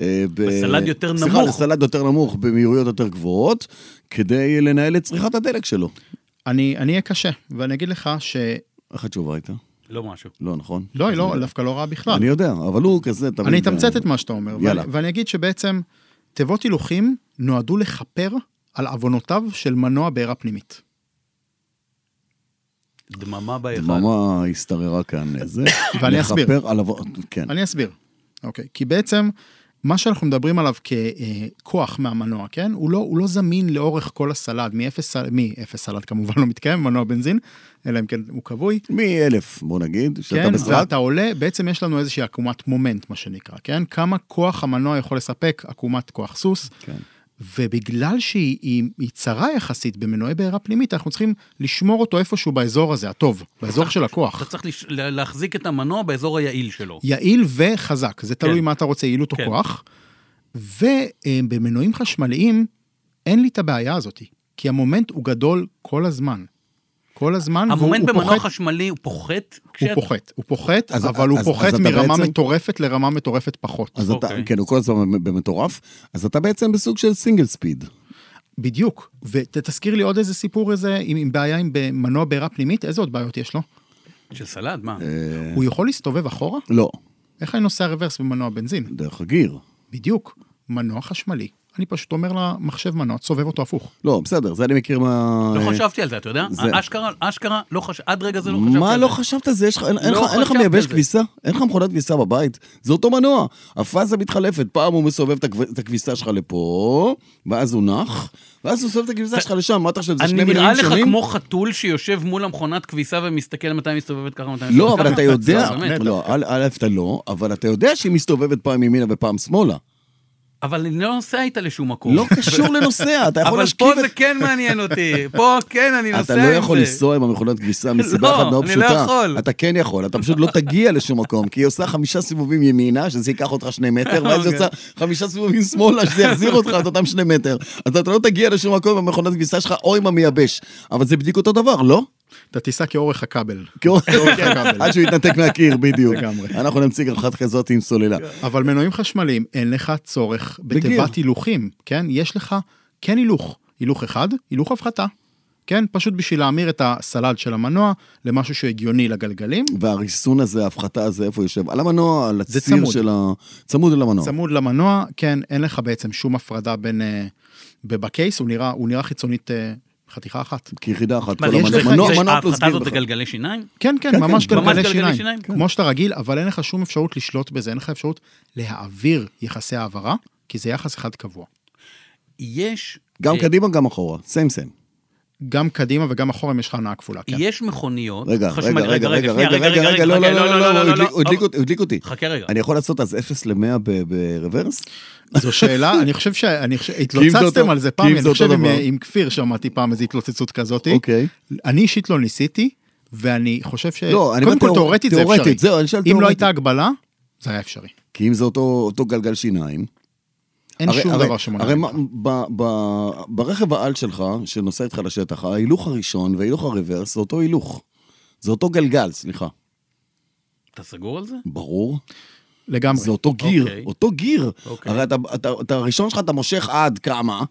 A: אה, ב-
B: בסלד יותר
A: סליחה,
B: נמוך.
A: לסלד יותר נמוך, במהירויות יותר גבוהות, כדי לנהל את צריכת הדלק שלו.
C: אני אני אהיה קשה, ואני אגיד לך שלא,
A: איך התשובה הייתה?
B: לא משהו.
A: לא, נכון?
C: היא לא, דווקא לא רעה בכלל.
A: אני יודע, אבל הוא כזה תמיד... אה,
C: אני אתמצת את מה שאתה אומר,
A: יאללה.
C: ואני, ואני אגיד שבעצם תיבות הילוכים נועדו לכפר על עוונותיו של מנוע בעירה פנימית.
B: דממה בהיכל.
A: דממה השתררה כאן, אה,
B: (coughs)
A: זה...
C: ואני אסביר.
A: לכפר על עבור... כן.
C: אני אסביר. אוקיי, כי בעצם מה שאנחנו מדברים עליו ככוח מהמנוע, כן? הוא לא, הוא לא זמין לאורך כל הסלד, מאפס, סל- מאפס סלד כמובן (laughs) לא מתקיים, מנוע בנזין, אלא אם כן הוא כבוי.
A: מאלף, בוא נגיד, שאתה
C: כן,
A: בסלד,
C: ואתה עולה, בעצם יש לנו איזושהי עקומת מומנט, מה שנקרא, כן? כמה כוח המנוע יכול לספק, עקומת כוח סוס.
A: כן.
C: ובגלל שהיא היא- היא צרה יחסית במנועי בעירה פנימית, אנחנו צריכים לשמור אותו איפשהו באזור הזה, הטוב, באזור של
B: אתה
C: הכוח.
B: צריך לש- לה- להחזיק את המנוע באזור היעיל שלו.
C: יעיל וחזק, זה תלוי
B: כן.
C: מה אתה רוצה, יעילות או
B: כן.
C: כוח. ובמנועים חשמליים, אין לי את הבעיה הזאת, כי המומנט הוא גדול כל הזמן. כל הזמן, והוא-
B: המומנט
C: הוא
B: במנוע
C: פוחת-
B: חשמלי הוא פוחת?
C: הוא
B: כשאת-
C: פוחת, הוא פוחת,
A: אז-
C: אבל הוא
A: אז-
C: פוחת
A: אז אתה
C: מרמה
A: בעצם-
C: מטורפת לרמה מטורפת פחות.
A: אז אתה,
B: אוקיי.
A: כן, הוא כל הזמן במטורף, אז אתה בעצם בסוג של סינגל ספיד.
C: בדיוק, ותזכיר לי עוד איזה סיפור איזה, עם, עם בעיה עם מנוע בעירה פנימית, איזה עוד בעיות יש לו?
B: של סלד, מה?
A: אה,
C: הוא יכול להסתובב אחורה?
A: לא,
C: איך אני נוסע רוורס במנוע בנזין?
A: דרך הגיר.
C: בדיוק, מנוע חשמלי. אני פשוט אומר למחשב מנוע, תסובב אותו הפוך.
A: לא, בסדר, זה אני מכיר מה...
B: לא חשבתי על זה, אתה יודע?
A: אה, זה-
B: אשכרה, אשכרה, לא חש... עד רגע זה לא חשבתי על זה.
A: מה לא חשבת על זה? יש לך- אין- אין
B: לא
A: לך- אין לך
B: חשבתי
A: מייבש
B: על זה.
A: כביסה? אין לך מכונת כביסה בבית? זה אותו מנוע. הפאזה מתחלפת, פעם הוא מסובב את הכב- את הכביסה שלך לפה, ואז הוא נח, ואז הוא מסובב את הכביסה שלך לשם, מה אתה חושב, זה שני
B: אני
A: מנועים
B: נראה
A: שונים?
B: לך כמו חתול שיושב מול המכונת כביסה ומסתכל מתי מסתובבת ככה, מתי מסתובבת
A: לא,
B: ככה?
A: אבל אתה יודע,
B: לא, באמת.
A: לא, א', א', אתה לא, אבל אתה יודע שהיא מסתובבת פעם ימינה ופעם שמאלה.
B: אבל אני לא נוסע איתה לשום מקום.
A: לא קשור לנוסע, אתה יכול
B: אבל
A: להשכיב
B: פה
A: את
B: זה כן
A: (laughs)
B: מעניין אותי, פה כן אני נוסע
A: אתה
B: עם
A: לא
B: זה.
A: יכול לנסוע עם המכונת כביסה מסיבה
B: לא,
A: אחת מאוד
B: אני לא
A: פשוטה.
B: יכול.
A: אתה כן יכול, אתה פשוט לא תגיע לשום מקום, כי היא עושה חמישה סיבובים ימינה, שזה ייקח אותך שני מטר, ואז היא עושה
B: אוקיי.
A: חמישה סיבובים שמאלה, שזה יחזיר אותך את אותם שני מטר. אז אתה לא תגיע לשום מקום עם המכונת כביסה שלך או עם המייבש. אבל זה בדיוק אותו דבר,
B: (laughs)
A: לא?
C: אתה תיסע כאורך הכבל.
A: כי הוא-
C: כאורך
B: אוקיי,
C: הכבל.
A: עד שהוא יתנתק מהקיר, בדיוק.
C: לגמרי.
A: אנחנו נמציא גם אחת כזאת עם סוללה.
C: אבל מנועים חשמליים, אין לך צורך בתיבת הילוכים, כן? יש לך כן הילוך, הילוך אחד, הילוך הפחתה. כן? פשוט בשביל להמיר את הסלל של המנוע למשהו שהגיוני לגלגלים,
A: והריסון הזה, ההפחתה הזה, איפה הוא יושב? על המנוע, על
C: זה
A: הציר
C: צמוד.
A: של ה... צמוד אל המנוע.
C: צמוד למנוע, כן, אין לך בעצם שום הפרדה בין... אה, ב- בקייס הוא נראה, הוא נראה חיצונית אה, חתיכה אחת.
A: כיחידה אחת,
B: מה,
A: כל
B: יש לך-
A: המנוע, מנוע-
B: זה-
A: מנוע פלוס
B: ההפחתה
A: גיר
B: הזאת
A: בכלל.
B: בגלגלי שיניים?
C: כן, כן, ממש
B: כן. ממש
C: גלגלי
B: גלגלי
C: שיניים,
B: שיניים, כן.
C: כמו שאתה רגיל, אבל אין לך שום אפשרות לשלוט בזה, אין לך אפשרות להעביר יחסי העברה, כי זה יחס אחד קבוע.
B: יש...
A: גם
B: אה,
A: קדימה, גם אחורה. סיים סיים.
C: גם קדימה וגם אחורה אם יש לך הנעה כפולה, כן.
B: יש מכוניות...
A: רגע, רגע,
B: חשמל-
A: רגע, רגע,
B: שנייה,
A: רגע, רגע, רגע, לא, לא,
B: חכה,
A: לא, לא, לא, הוא הדליק
B: אבל-
A: אותי, הוא הדליק אותי.
B: לא, חכה רגע.
A: אני יכול לעשות אז 0 ל-100 ברוורס?
C: זו שאלה, אני חושב ש...
A: (laughs)
C: אני חושב...
A: זה אותו-
C: התלוצצתם על זה
A: כי אם
C: פעם,
A: זה
C: אני
A: אותו
C: חושב עם-
A: דבר.
C: עם כפיר שמעתי פעם איזו התלוצצות כזאת.
A: אוקיי.
C: אני אישית לא ניסיתי, ואני חושב ש...
A: לא, אני
C: קודם
A: אומר תיאור-
C: כל תיאורטית זה אפשרי.
A: תיאורטית, זהו, אני שואל
C: אם
A: תיאורטית.
C: לא הייתה הגבלה, זה היה אפשרי.
A: כי אם זה אותו אותו גלגל שיניים.
C: אין
A: הרי-
C: שום
A: הרי-
C: דבר שמונע.
A: הרי
C: ממך.
A: מה- ב- ב- ברכב העל שלך, שנוסע איתך לשטח, ההילוך הראשון וההילוך הרוורס זה אותו הילוך. זה אותו גלגל, סליחה.
B: אתה סגור על זה?
A: ברור.
C: לגמרי.
A: זה אותו גיר,
B: אוקיי.
A: אותו גיר.
B: אוקיי.
A: הרי אתה- אתה- אתה הראשון שלך אתה מושך עד כמה,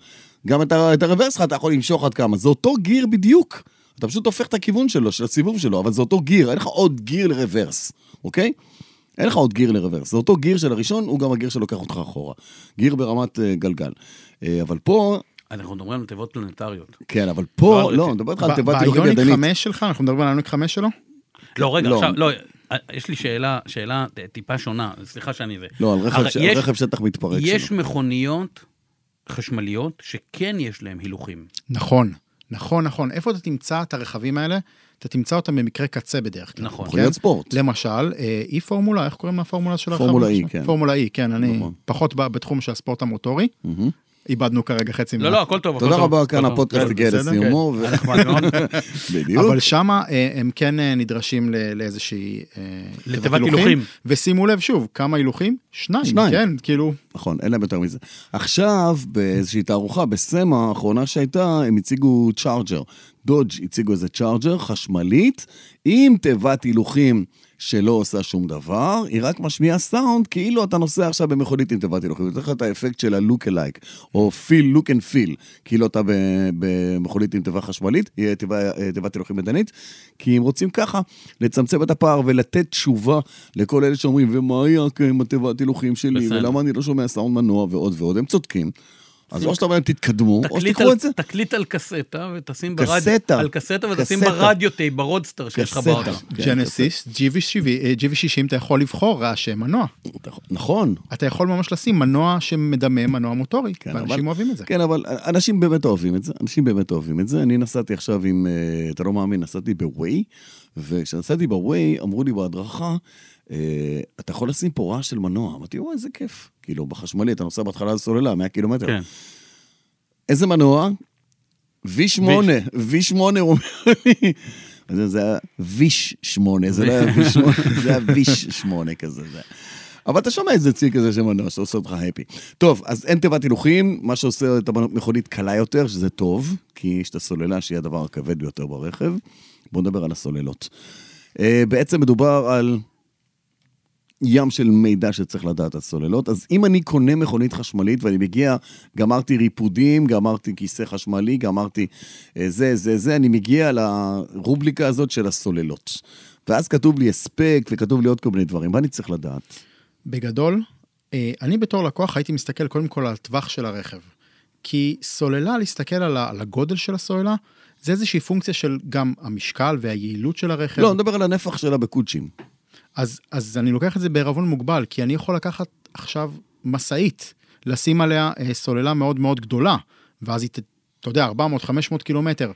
A: גם את ה- את הרוורס שלך אתה יכול למשוך עד כמה. זה אותו גיר בדיוק. אתה פשוט הופך את הכיוון שלו, של הסיבוב שלו, אבל זה אותו גיר, אין לך עוד גיר לרוורס, אוקיי? אין לך עוד גיר לרוורס, זה אותו גיר של הראשון, הוא גם הגיר שלוקח אותך אחורה. גיר ברמת אה, גלגל. אה, אבל פה,
B: אנחנו מדברים על תיבות פלנטריות.
A: כן, אבל
B: לא,
A: פה,
B: אוקיי.
A: לא, אני מדבר איתך על
C: ב-
A: תיבת הילוך
C: באיוניק
A: ידנית.
C: 5 שלך, אנחנו מדברים על איוניק 5 שלו?
B: לא, רגע,
A: לא.
B: עכשיו, לא, אה, יש לי שאלה, שאלה אה, טיפה שונה, סליחה שאני זה.
A: לא, על רכב
B: הרי
A: ש- על
B: יש-
A: רכב שטח מתפרק שלו.
B: יש מכוניות חשמליות שכן יש להן הילוכים.
C: נכון. נכון, נכון. איפה אתה תמצא את הרכבים האלה? אתה תמצא אותם במקרה קצה בדרך כלל. כן?
B: נכון.
A: מכוניות ספורט.
C: למשל, אה, אי פורמולה, איך קוראים לפורמולה של הרכב?
A: פורמולה
C: הזה?
A: E, כן.
C: פורמולה אי, כן, אני
A: נכון.
C: פחות ב- בתחום של הספורט המוטורי.
A: מהמם.
C: איבדנו כרגע חצי
B: לא, לא, הכל טוב, הכל טוב.
A: תודה רבה,
B: הכל
A: כאן
B: טוב.
A: הפודקאסט
B: הכל
A: הגיע
C: כן. בסדר, כן.
A: לסיומו,
B: בסדר, נחמד מאוד.
A: ו-
B: לא.
A: בדיוק.
C: אבל שמה אה, הם כן אה, נדרשים ל- לאיזושהי... אה,
B: לתיבת
C: תיבת
B: הילוכים.
C: ושימו לב, שוב, כמה הילוכים? שניים,
A: שניים.
C: כן, כאילו...
A: נכון, אין להם יותר מזה. עכשיו, באיזושהי תערוכה, בסמה האחרונה שהייתה, הם הציגו צ'ארג'ר. דודג' הציגו איזה צ'ארג'ר חשמלית, עם תיבת הילוכים שלא עושה שום דבר, היא רק משמיעה סאונד כאילו אתה נוסע עכשיו במכונית עם תיבת הילוכים. זה לך את האפקט של ה-look alike, או feel, look and feel, כאילו אתה ב- במכונית עם תיבה חשמלית, אה, תיבה- אה, תיבת הילוכים מדענית, כי הם רוצים ככה לצמצם את הפער ולתת תשובה לכל אלה שאומרים, ומה היה עם התיבת הילוכים שלי,
B: בסדר.
A: ולמה אני לא שומע סאונד מנוע ועוד ועוד, הם צודקים. אז או שאתה אומר להם תתקדמו, (laughs) או
B: תקליט
A: שתיקחו
B: על-
A: את זה.
B: תקליט על קסטה ותשים ברדיו.
A: קסטה.
B: על קסטה ותשים
A: קסטה.
B: ברדיו טייפ, ברודסטר שיש לך
A: קסטה.
B: באוטו.
A: כן,
C: ג'נסיס, אה, GV60, אתה יכול לבחור רעשי מנוע.
A: נכון.
C: אתה יכול ממש לשים מנוע שמדמה מנוע מוטורי,
A: כן, אבל-
C: ואנשים אוהבים את זה.
A: כן, אבל אנשים באמת אוהבים את זה, אנשים באמת אוהבים את זה. אני נסעתי עכשיו עם, אה, אתה לא מאמין, נסעתי בווי, וכשנסעתי בווי, אמרו לי בהדרכה, אה, אתה יכול לשים פה רעש של מנוע. אמרתי, וואי, איזה כיף. כאילו, בחשמלי, אתה נוסע בהתחלה לסוללה, 100 קילומטר.
B: כן.
A: איזה מנוע? V8, V8 הוא אומר לי. אז זה היה ויש 8, זה לא היה ויש 8, זה היה ויש 8 כזה. זה. היה. אבל אתה שומע איזה צי כזה של מנוע שעושה אותך הפי. טוב, אז אין תיבת הילוכים, מה שעושה את המכונית קלה יותר, שזה טוב, כי יש את הסוללה שהיא הדבר הכבד ביותר ברכב. בואו נדבר על הסוללות. אה, בעצם מדובר על ים של מידע שצריך לדעת על סוללות. אז אם אני קונה מכונית חשמלית ואני מגיע, גמרתי ריפודים, גמרתי כיסא חשמלי, גמרתי אה, זה, זה, זה, אני מגיע לרובריקה הזאת של הסוללות. ואז כתוב לי הספק וכתוב לי עוד כל מיני דברים, מה אני צריך לדעת?
C: בגדול, אה, אני בתור לקוח הייתי מסתכל קודם כל על הטווח של הרכב. כי סוללה, להסתכל על ה- על הגודל של הסוללה, זה איזושהי פונקציה של גם המשקל והיעילות של הרכב.
A: לא, אני מדבר על הנפח שלה בקוצ'ים.
C: אז, אז אני לוקח את זה בערבון מוגבל, כי אני יכול לקחת עכשיו משאית, לשים עליה אה, סוללה מאוד מאוד גדולה, ואז היא, ת- אתה יודע, 400-500 קילומטר.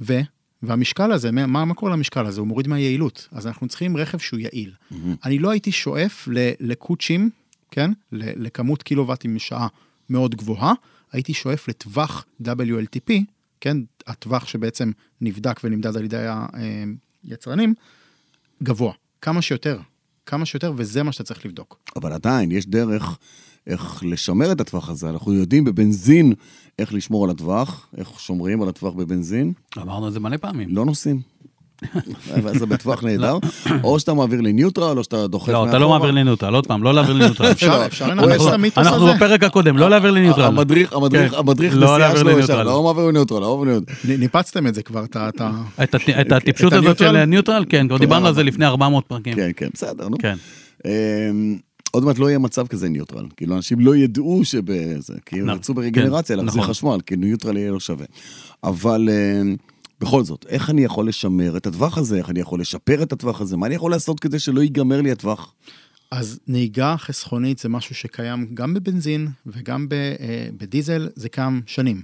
C: ו? והמשקל הזה, מה- מה, מה קורה למשקל הזה? הוא מוריד מהיעילות. אז אנחנו צריכים רכב שהוא יעיל. Mm-hmm. אני לא הייתי שואף ל, לקוצ'ים, כן? ל, לכמות קילוואטים לשעה מאוד גבוהה, הייתי שואף לטווח WLTP, כן? הטווח שבעצם נבדק ונמדד על ידי אה, היצרנים, גבוה, כמה שיותר, כמה שיותר, וזה מה שאתה צריך לבדוק.
A: אבל עדיין, יש דרך איך לשמר את הטווח הזה. אנחנו יודעים בבנזין איך לשמור על הטווח, איך שומרים על הטווח בבנזין.
B: אמרנו את כן. זה מלא פעמים.
A: לא נוסעים. אבל זה בטווח נהדר, או שאתה מעביר לניוטרל, או שאתה דוחף
B: לא, אתה לא מעביר לניוטרל, עוד פעם, לא להעביר לניוטרל.
C: אפשר, אפשר לנמש
B: אנחנו-
C: את המיתוס
B: אנחנו
C: הזה.
B: בפרק הקודם, לא להעביר לניוטרל.
A: המדריך, המדריך,
B: כן.
A: המדריך
B: לא
A: נסיעה
B: להעביר
A: שלו ישר,
B: לניוטרל.
A: לא מעביר לניוטרל, לא מעביר לניוטרל.
C: נ- ניפצתם את זה כבר, אתה... אתה...
B: את הט- את הטיפשות
C: את
B: הזאת של
C: הניוטרל?
B: הניוטרל, כן, כבר דיברנו על זה לפני 400 פרקים.
A: כן, כן, בסדר, נו.
B: כן.
A: אמ, עוד מעט לא יהיה מצב כזה ניוטרל, כאילו אנשים לא ידעו שבזה, כי הם
B: נכון,
A: ירצו ברגנרציה
B: כן,
A: להחזיר
B: נכון.
A: חשמל, כי ניוטרל יהיה לא שווה. אבל אמ, בכל זאת, איך אני יכול לשמר את הטווח הזה, איך אני יכול לשפר את הטווח הזה, מה אני יכול לעשות כדי שלא ייגמר לי הטווח?
C: אז נהיגה חסכונית זה משהו שקיים גם בבנזין וגם ב, אה, בדיזל, זה קיים שנים.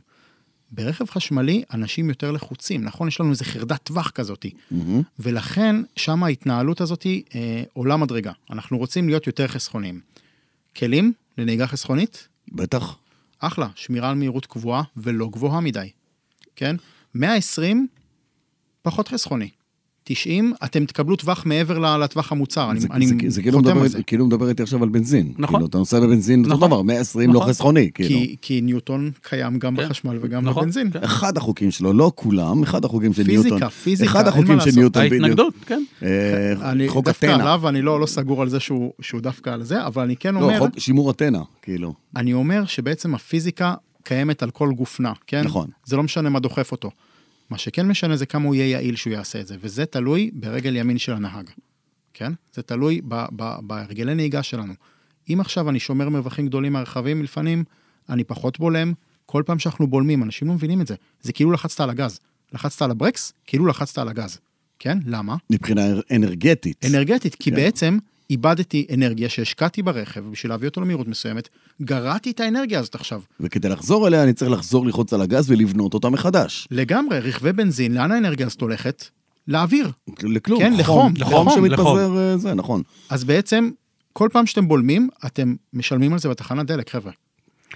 C: ברכב חשמלי אנשים יותר לחוצים, נכון? יש לנו איזה חרדת טווח כזאת. Mm-hmm. ולכן שם ההתנהלות הזאת אה, עולה מדרגה. אנחנו רוצים להיות יותר חסכוניים. כלים לנהיגה חסכונית,
A: בטח.
C: אחלה, שמירה על מהירות קבועה ולא גבוהה מדי, כן? 120, פחות חסכוני. 90, אתם תקבלו טווח מעבר ל- לטווח המוצר, אני,
A: זה,
C: אני
A: זה, זה כאילו
C: חותם
A: מדבר,
C: על זה.
A: כאילו מדבר איתי עכשיו על בנזין.
B: נכון.
A: כאילו, אתה נוסע בבנזין, אותו
B: נכון.
A: דבר, 120
B: נכון.
A: לא חסכוני, כאילו.
C: כי, כי ניוטון קיים גם
B: כן.
C: בחשמל וגם
B: נכון,
C: בבנזין.
B: כן.
A: אחד החוקים שלו, לא כולם, אחד החוקים של
C: פיזיקה,
A: ניוטון.
C: פיזיקה, אין
A: אחד
C: מה
A: החוקים של
C: לעשות.
A: ניוטון, בדיוק.
B: ההתנגדות, כן.
A: אה,
C: אני
A: חוק
C: דווקא
A: אתנה.
C: עליו, אני לא, לא סגור על זה שהוא, שהוא דווקא על זה, אבל אני כן
A: לא,
C: אומר,
A: חוק שימור אתנה, כאילו.
C: אני אומר שבעצם הפיזיקה קיימת על כל גופנה, כן?
A: נכון.
C: זה לא משנה מה דוחף אותו. מה שכן משנה זה כמה הוא יהיה יעיל שהוא יעשה את זה, וזה תלוי ברגל ימין של הנהג, כן? זה תלוי ב- ב- בהרגלי נהיגה שלנו. אם עכשיו אני שומר מרווחים גדולים מהרכבים מלפנים, אני פחות בולם, כל פעם שאנחנו בולמים, אנשים לא מבינים את זה. זה כאילו לחצת על הגז. לחצת על הברקס, כאילו לחצת על הגז. כן? למה?
A: מבחינה אנרגטית.
C: אנרגטית, כי
A: כן.
C: בעצם איבדתי אנרגיה שהשקעתי ברכב בשביל להביא אותו למהירות מסוימת, גרעתי את האנרגיה הזאת עכשיו.
A: וכדי לחזור אליה, אני צריך לחזור ללחוץ על הגז ולבנות אותה מחדש.
C: לגמרי, רכבי בנזין, לאן האנרגיה הזאת הולכת? לאוויר.
A: לכלום.
C: כן, לחום,
A: חום
B: לחום,
A: שמתפזר, אה, זה, נכון.
C: אז בעצם, כל פעם שאתם בולמים, אתם משלמים על זה בתחנת דלק, חבר'ה.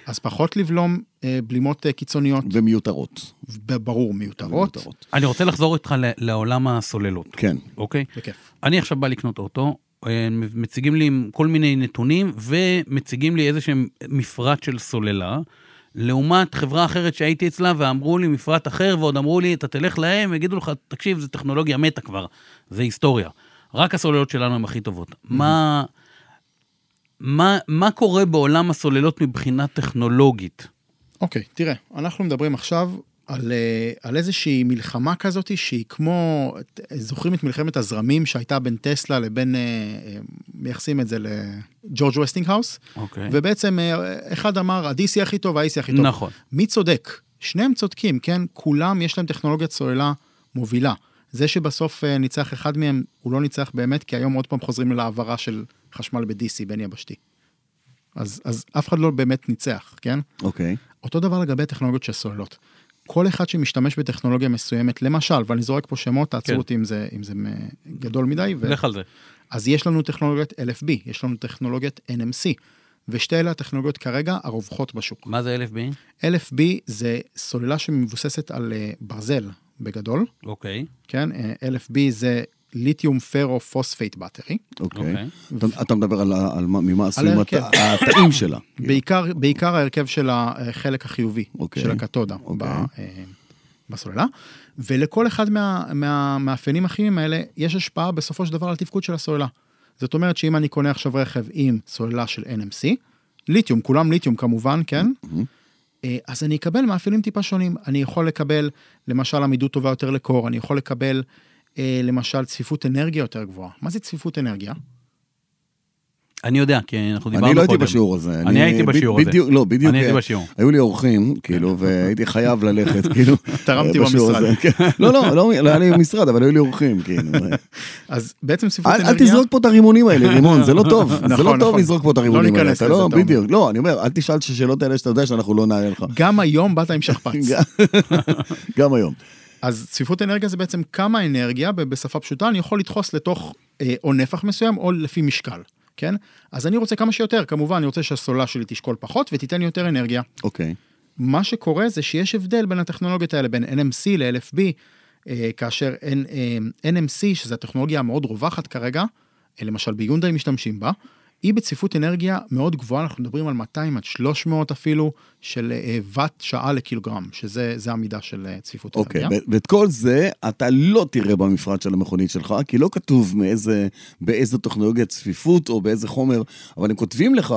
C: אז פחות לבלום אה, בלימות אה, קיצוניות,
A: ומיותרות.
C: ב- ברור, מיותרות.
A: מיותרות.
B: אני רוצה לחזור איתך ל- לעולם הסוללות,
A: כן.
B: אוקיי?
C: בכיף.
B: אני עכשיו בא לקנות אוטו, אה, מציגים לי כל מיני נתונים ומציגים לי איזה שהם מפרט של סוללה. לעומת חברה אחרת שהייתי אצלה ואמרו לי מפרט אחר ועוד אמרו לי אתה תלך להם יגידו לך תקשיב זו טכנולוגיה מתה כבר זה היסטוריה רק הסוללות שלנו הן הכי טובות מה מה מה קורה בעולם הסוללות מבחינה טכנולוגית
C: אוקיי, תראה, אנחנו מדברים עכשיו על, אה, על איזושהי מלחמה כזאת שהיא כמו, ת- זוכרים את מלחמת הזרמים שהייתה בין טסלה לבין, אה, אה, מייחסים את זה לג'ורג' וסטינגהאוס,
B: אוקיי
C: ובעצם אה, אחד אמר, ה-DC הכי טוב, ה-AC הכי טוב.
B: נכון.
C: מי צודק? שניהם צודקים, כן? כולם יש להם טכנולוגיית סוללה מובילה. זה שבסוף אה, ניצח אחד מהם, הוא לא ניצח באמת, כי היום עוד פעם חוזרים להעברה של חשמל ב-DC בין יבשתי. אז, אז אף אחד לא באמת ניצח, כן?
A: אוקיי.
C: אותו דבר לגבי הטכנולוגיות של סוללות. כל אחד שמשתמש בטכנולוגיה מסוימת, למשל, ואני זורק פה שמות, תעצרו
B: כן.
C: אותי אם זה, אם זה מ- גדול מדי. ו...
B: לך על זה
C: אז יש לנו טכנולוגיית LFB, יש לנו טכנולוגיית NMC, ושתי אלה הטכנולוגיות כרגע הרווחות בשוק.
B: מה זה LFB
C: LFB זה סוללה שמבוססת על אה, ברזל בגדול,
B: אוקיי
C: כן? אה, LFB זה ליתיום פרו פוספייט בטרי,
A: אוקיי.
B: אוקיי.
A: אתה- אתה מדבר על ה- על מה- ממה עשויים הת-
C: ההרכב.
A: התאים שלה.
C: בעיקר, בעיקר ההרכב של החלק החיובי,
A: כאילו. אוקיי.
C: של הקתודה
A: אוקיי.
C: ב, אה, בסוללה, ולכל אחד מה, מהמאפיינים הכימיים האלה יש השפעה בסופו של דבר על התפקוד של הסוללה. זאת אומרת שאם אני קונה עכשיו רכב עם סוללה של NMC, ליתיום, כולם ליתיום כמובן, כן? אה, אז אני אקבל מאפיינים טיפה שונים. אני יכול לקבל, למשל, עמידות טובה יותר לקור, אני יכול לקבל, אה, למשל, צפיפות אנרגיה יותר גבוהה. מה זה צפיפות אנרגיה?
B: אני יודע כי אנחנו דיברנו קודם
A: אני לא הייתי בשיעור הזה.
B: אני הייתי
A: ב-
B: בשיעור הזה.
A: בדיוק, לא, בדיוק.
B: אני הייתי
A: אה,
B: בשיעור. כן, אוקיי.
A: היו לי אורחים, כאילו, והייתי חייב ללכת, (laughs) כאילו.
C: תרמתי
A: אה, בשיעור
C: במשרד.
A: הזה, כן. לא, לא, לא לא היה לי משרד, אבל היו לי אורחים,
C: (laughs)
A: כאילו.
C: אז בעצם צפיפות
A: אל,
C: אנרגיה...
A: אל תזרוק פה את הרימונים האלה, רימון, זה לא טוב.
C: (laughs)
A: זה
C: נכון,
A: לא טוב
C: נכון.
A: לזרוק פה את
C: לא
A: הרימונים האלה.
C: ניכנס
A: אתה
C: לזה,
A: לא,
C: אתה אומר.
A: בדיוק. לא, אני אומר, אל תשאל את השאלות האלה שאתה יודע שאנחנו לא נענה
C: (laughs)
A: לך.
C: גם היום באת עם
A: (laughs)
C: שכפ"ץ.
A: גם היום.
C: אז צפיפות אנרגיה זה בעצם כמה אנרגיה, ב- בשפה פשוטה, אני יכול לדחוס לתוך אה, או נפח מסוים או לפי משקל, כן? אז אני רוצה כמה שיותר, כמובן, אני רוצה שהסוללה שלי תשקול פחות ותיתן לי יותר אנרגיה.
A: אוקיי.
C: מה שקורה זה שיש הבדל בין הטכנולוגיות האלה, בין NMC ל-LFB, אה, כאשר N, אה, NMC, שזו הטכנולוגיה המאוד רווחת כרגע, אה, למשל ביונדאי משתמשים בה, היא בצפיפות אנרגיה מאוד גבוהה, אנחנו מדברים על 200 עד 300 אפילו, של אה, ואט שעה לקילוגרם, שזה זה המידה של אה, צפיפות
A: אוקיי,
C: אנרגיה.
A: ו- ואת כל זה אתה לא תראה במפרט של המכונית שלך, כי לא כתוב מאיזה, באיזה טכנולוגיית צפיפות או באיזה חומר, אבל הם כותבים לך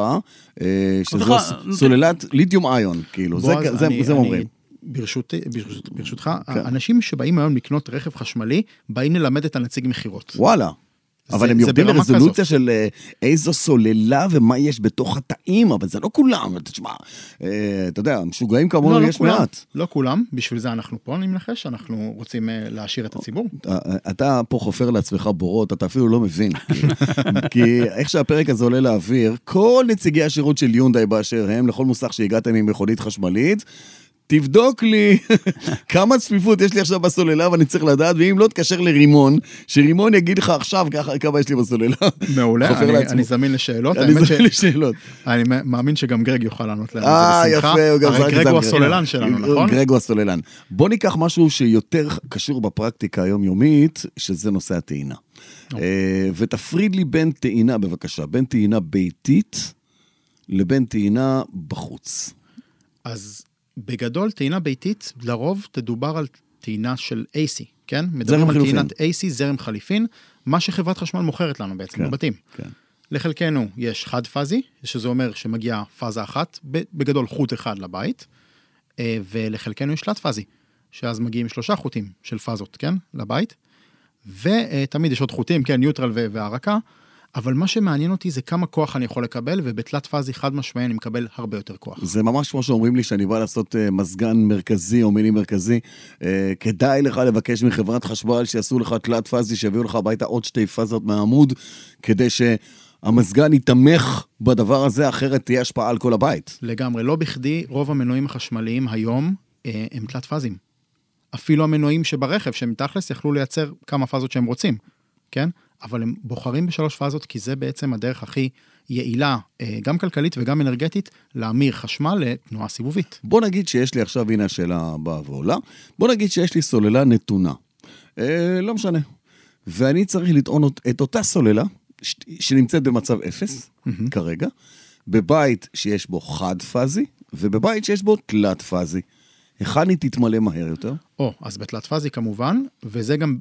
A: אה, שזו
B: לך-
A: ס- סוללת ליתיום איון, כאילו, זה,
C: בועז,
A: זה,
C: אני-
A: זה הם
C: אני-
A: אומרים. כן.
C: ברשות, ברשות, ברשותך, האנשים שבאים היום לקנות רכב חשמלי, באים ללמד את הנציג מכירות.
A: וואלה, אבל
C: זה-
A: הם
C: זה
A: יורדים
C: ברמה
A: לרזולוציה של אה, איזו סוללה ומה יש בתוך התאים, אבל זה לא כולם, תשמע, אה, אתה יודע, משוגעים
C: לא,
A: כמונו
C: לא
A: יש
C: כולם,
A: מעט.
C: לא כולם, בשביל זה אנחנו פה, אני מנחש, אנחנו רוצים אה, להעשיר את הציבור.
A: אתה- אתה פה חופר לעצמך בורות, אתה אפילו לא מבין. כי איך שהפרק הזה עולה לאוויר, כל נציגי השירות של יונדאי באשר הם, לכל מוסך שהגעתם עם מכונית חשמלית, תבדוק לי (laughs) כמה צפיפות יש לי עכשיו בסוללה ואני צריך לדעת, ואם לא, תקשר לרימון, שרימון יגיד לך עכשיו ככה כמה יש לי בסוללה.
C: מעולה,
A: חופר
C: אני-
A: לעצמו.
C: אני זמין לשאלות.
A: אני
C: האמת ש-
A: זוכר לי שאלות.
C: אני מאמין שגם גרג יוכל לענות להם
A: אה,
C: על זה בשמחה.
A: יפה, הוא גם
C: הרי
A: זרק את
C: גרג
A: זה
C: הוא
A: על גרג.
C: הסוללן שלנו,
A: גרג-
C: נכון?
A: גרג הוא הסוללן. בוא ניקח משהו שיותר קשור בפרקטיקה היומיומית, שזה נושא הטעינה.
C: אוקיי.
A: אה, ותפריד לי בין טעינה, בבקשה, בין טעינה ביתית לבין טעינה בחוץ.
C: אז בגדול, טעינה ביתית, לרוב תדובר על טעינה של AC, כן?
A: זרם
C: מדברים על
A: חילופין.
C: טעינת AC, זרם חליפין, מה שחברת חשמל מוכרת לנו בעצם
A: כן,
C: בבתים.
A: כן.
C: לחלקנו יש חד-פאזי, שזה אומר שמגיעה פאזה אחת, ב- בגדול חוט אחד לבית, אה, ולחלקנו יש תלת-פאזי, שאז מגיעים שלושה חוטים של פאזות, כן? לבית. ותמיד יש עוד חוטים, כן, ניוטרל ו- והרקה, אבל מה שמעניין אותי זה כמה כוח אני יכול לקבל, ובתלת פאזי חד משמעי אני מקבל הרבה יותר כוח.
A: זה ממש כמו שאומרים לי שאני בא לעשות אה, מזגן מרכזי או מיני מרכזי. אה, כדאי לך לבקש מחברת חשמל שיעשו לך תלת פאזי, שיביאו לך הביתה עוד שתי פאזות מהעמוד, כדי שהמזגן ייתמך בדבר הזה, אחרת תהיה השפעה על כל הבית.
C: לגמרי, לא בכדי רוב המנועים החשמליים היום אה, הם תלת פאזים. אפילו המנועים שברכב, שהם תכלס יכלו לייצר כמה פאזות שהם רוצים, כן? אבל הם בוחרים בשלוש פאזות כי זה בעצם הדרך הכי יעילה, אה, גם כלכלית וגם אנרגטית, להמיר חשמל לתנועה סיבובית.
A: בוא נגיד שיש לי עכשיו, הנה השאלה באה ועולה, בוא נגיד שיש לי סוללה נתונה. אה, לא משנה. ואני צריך לטעון אות- את אותה סוללה, ש- שנמצאת במצב אפס, כרגע, בבית שיש בו חד-פאזי, ובבית שיש בו תלת-פאזי. היכן היא תתמלא מהר יותר?
C: או, אז בתלת פאזי כמובן, וזה גם,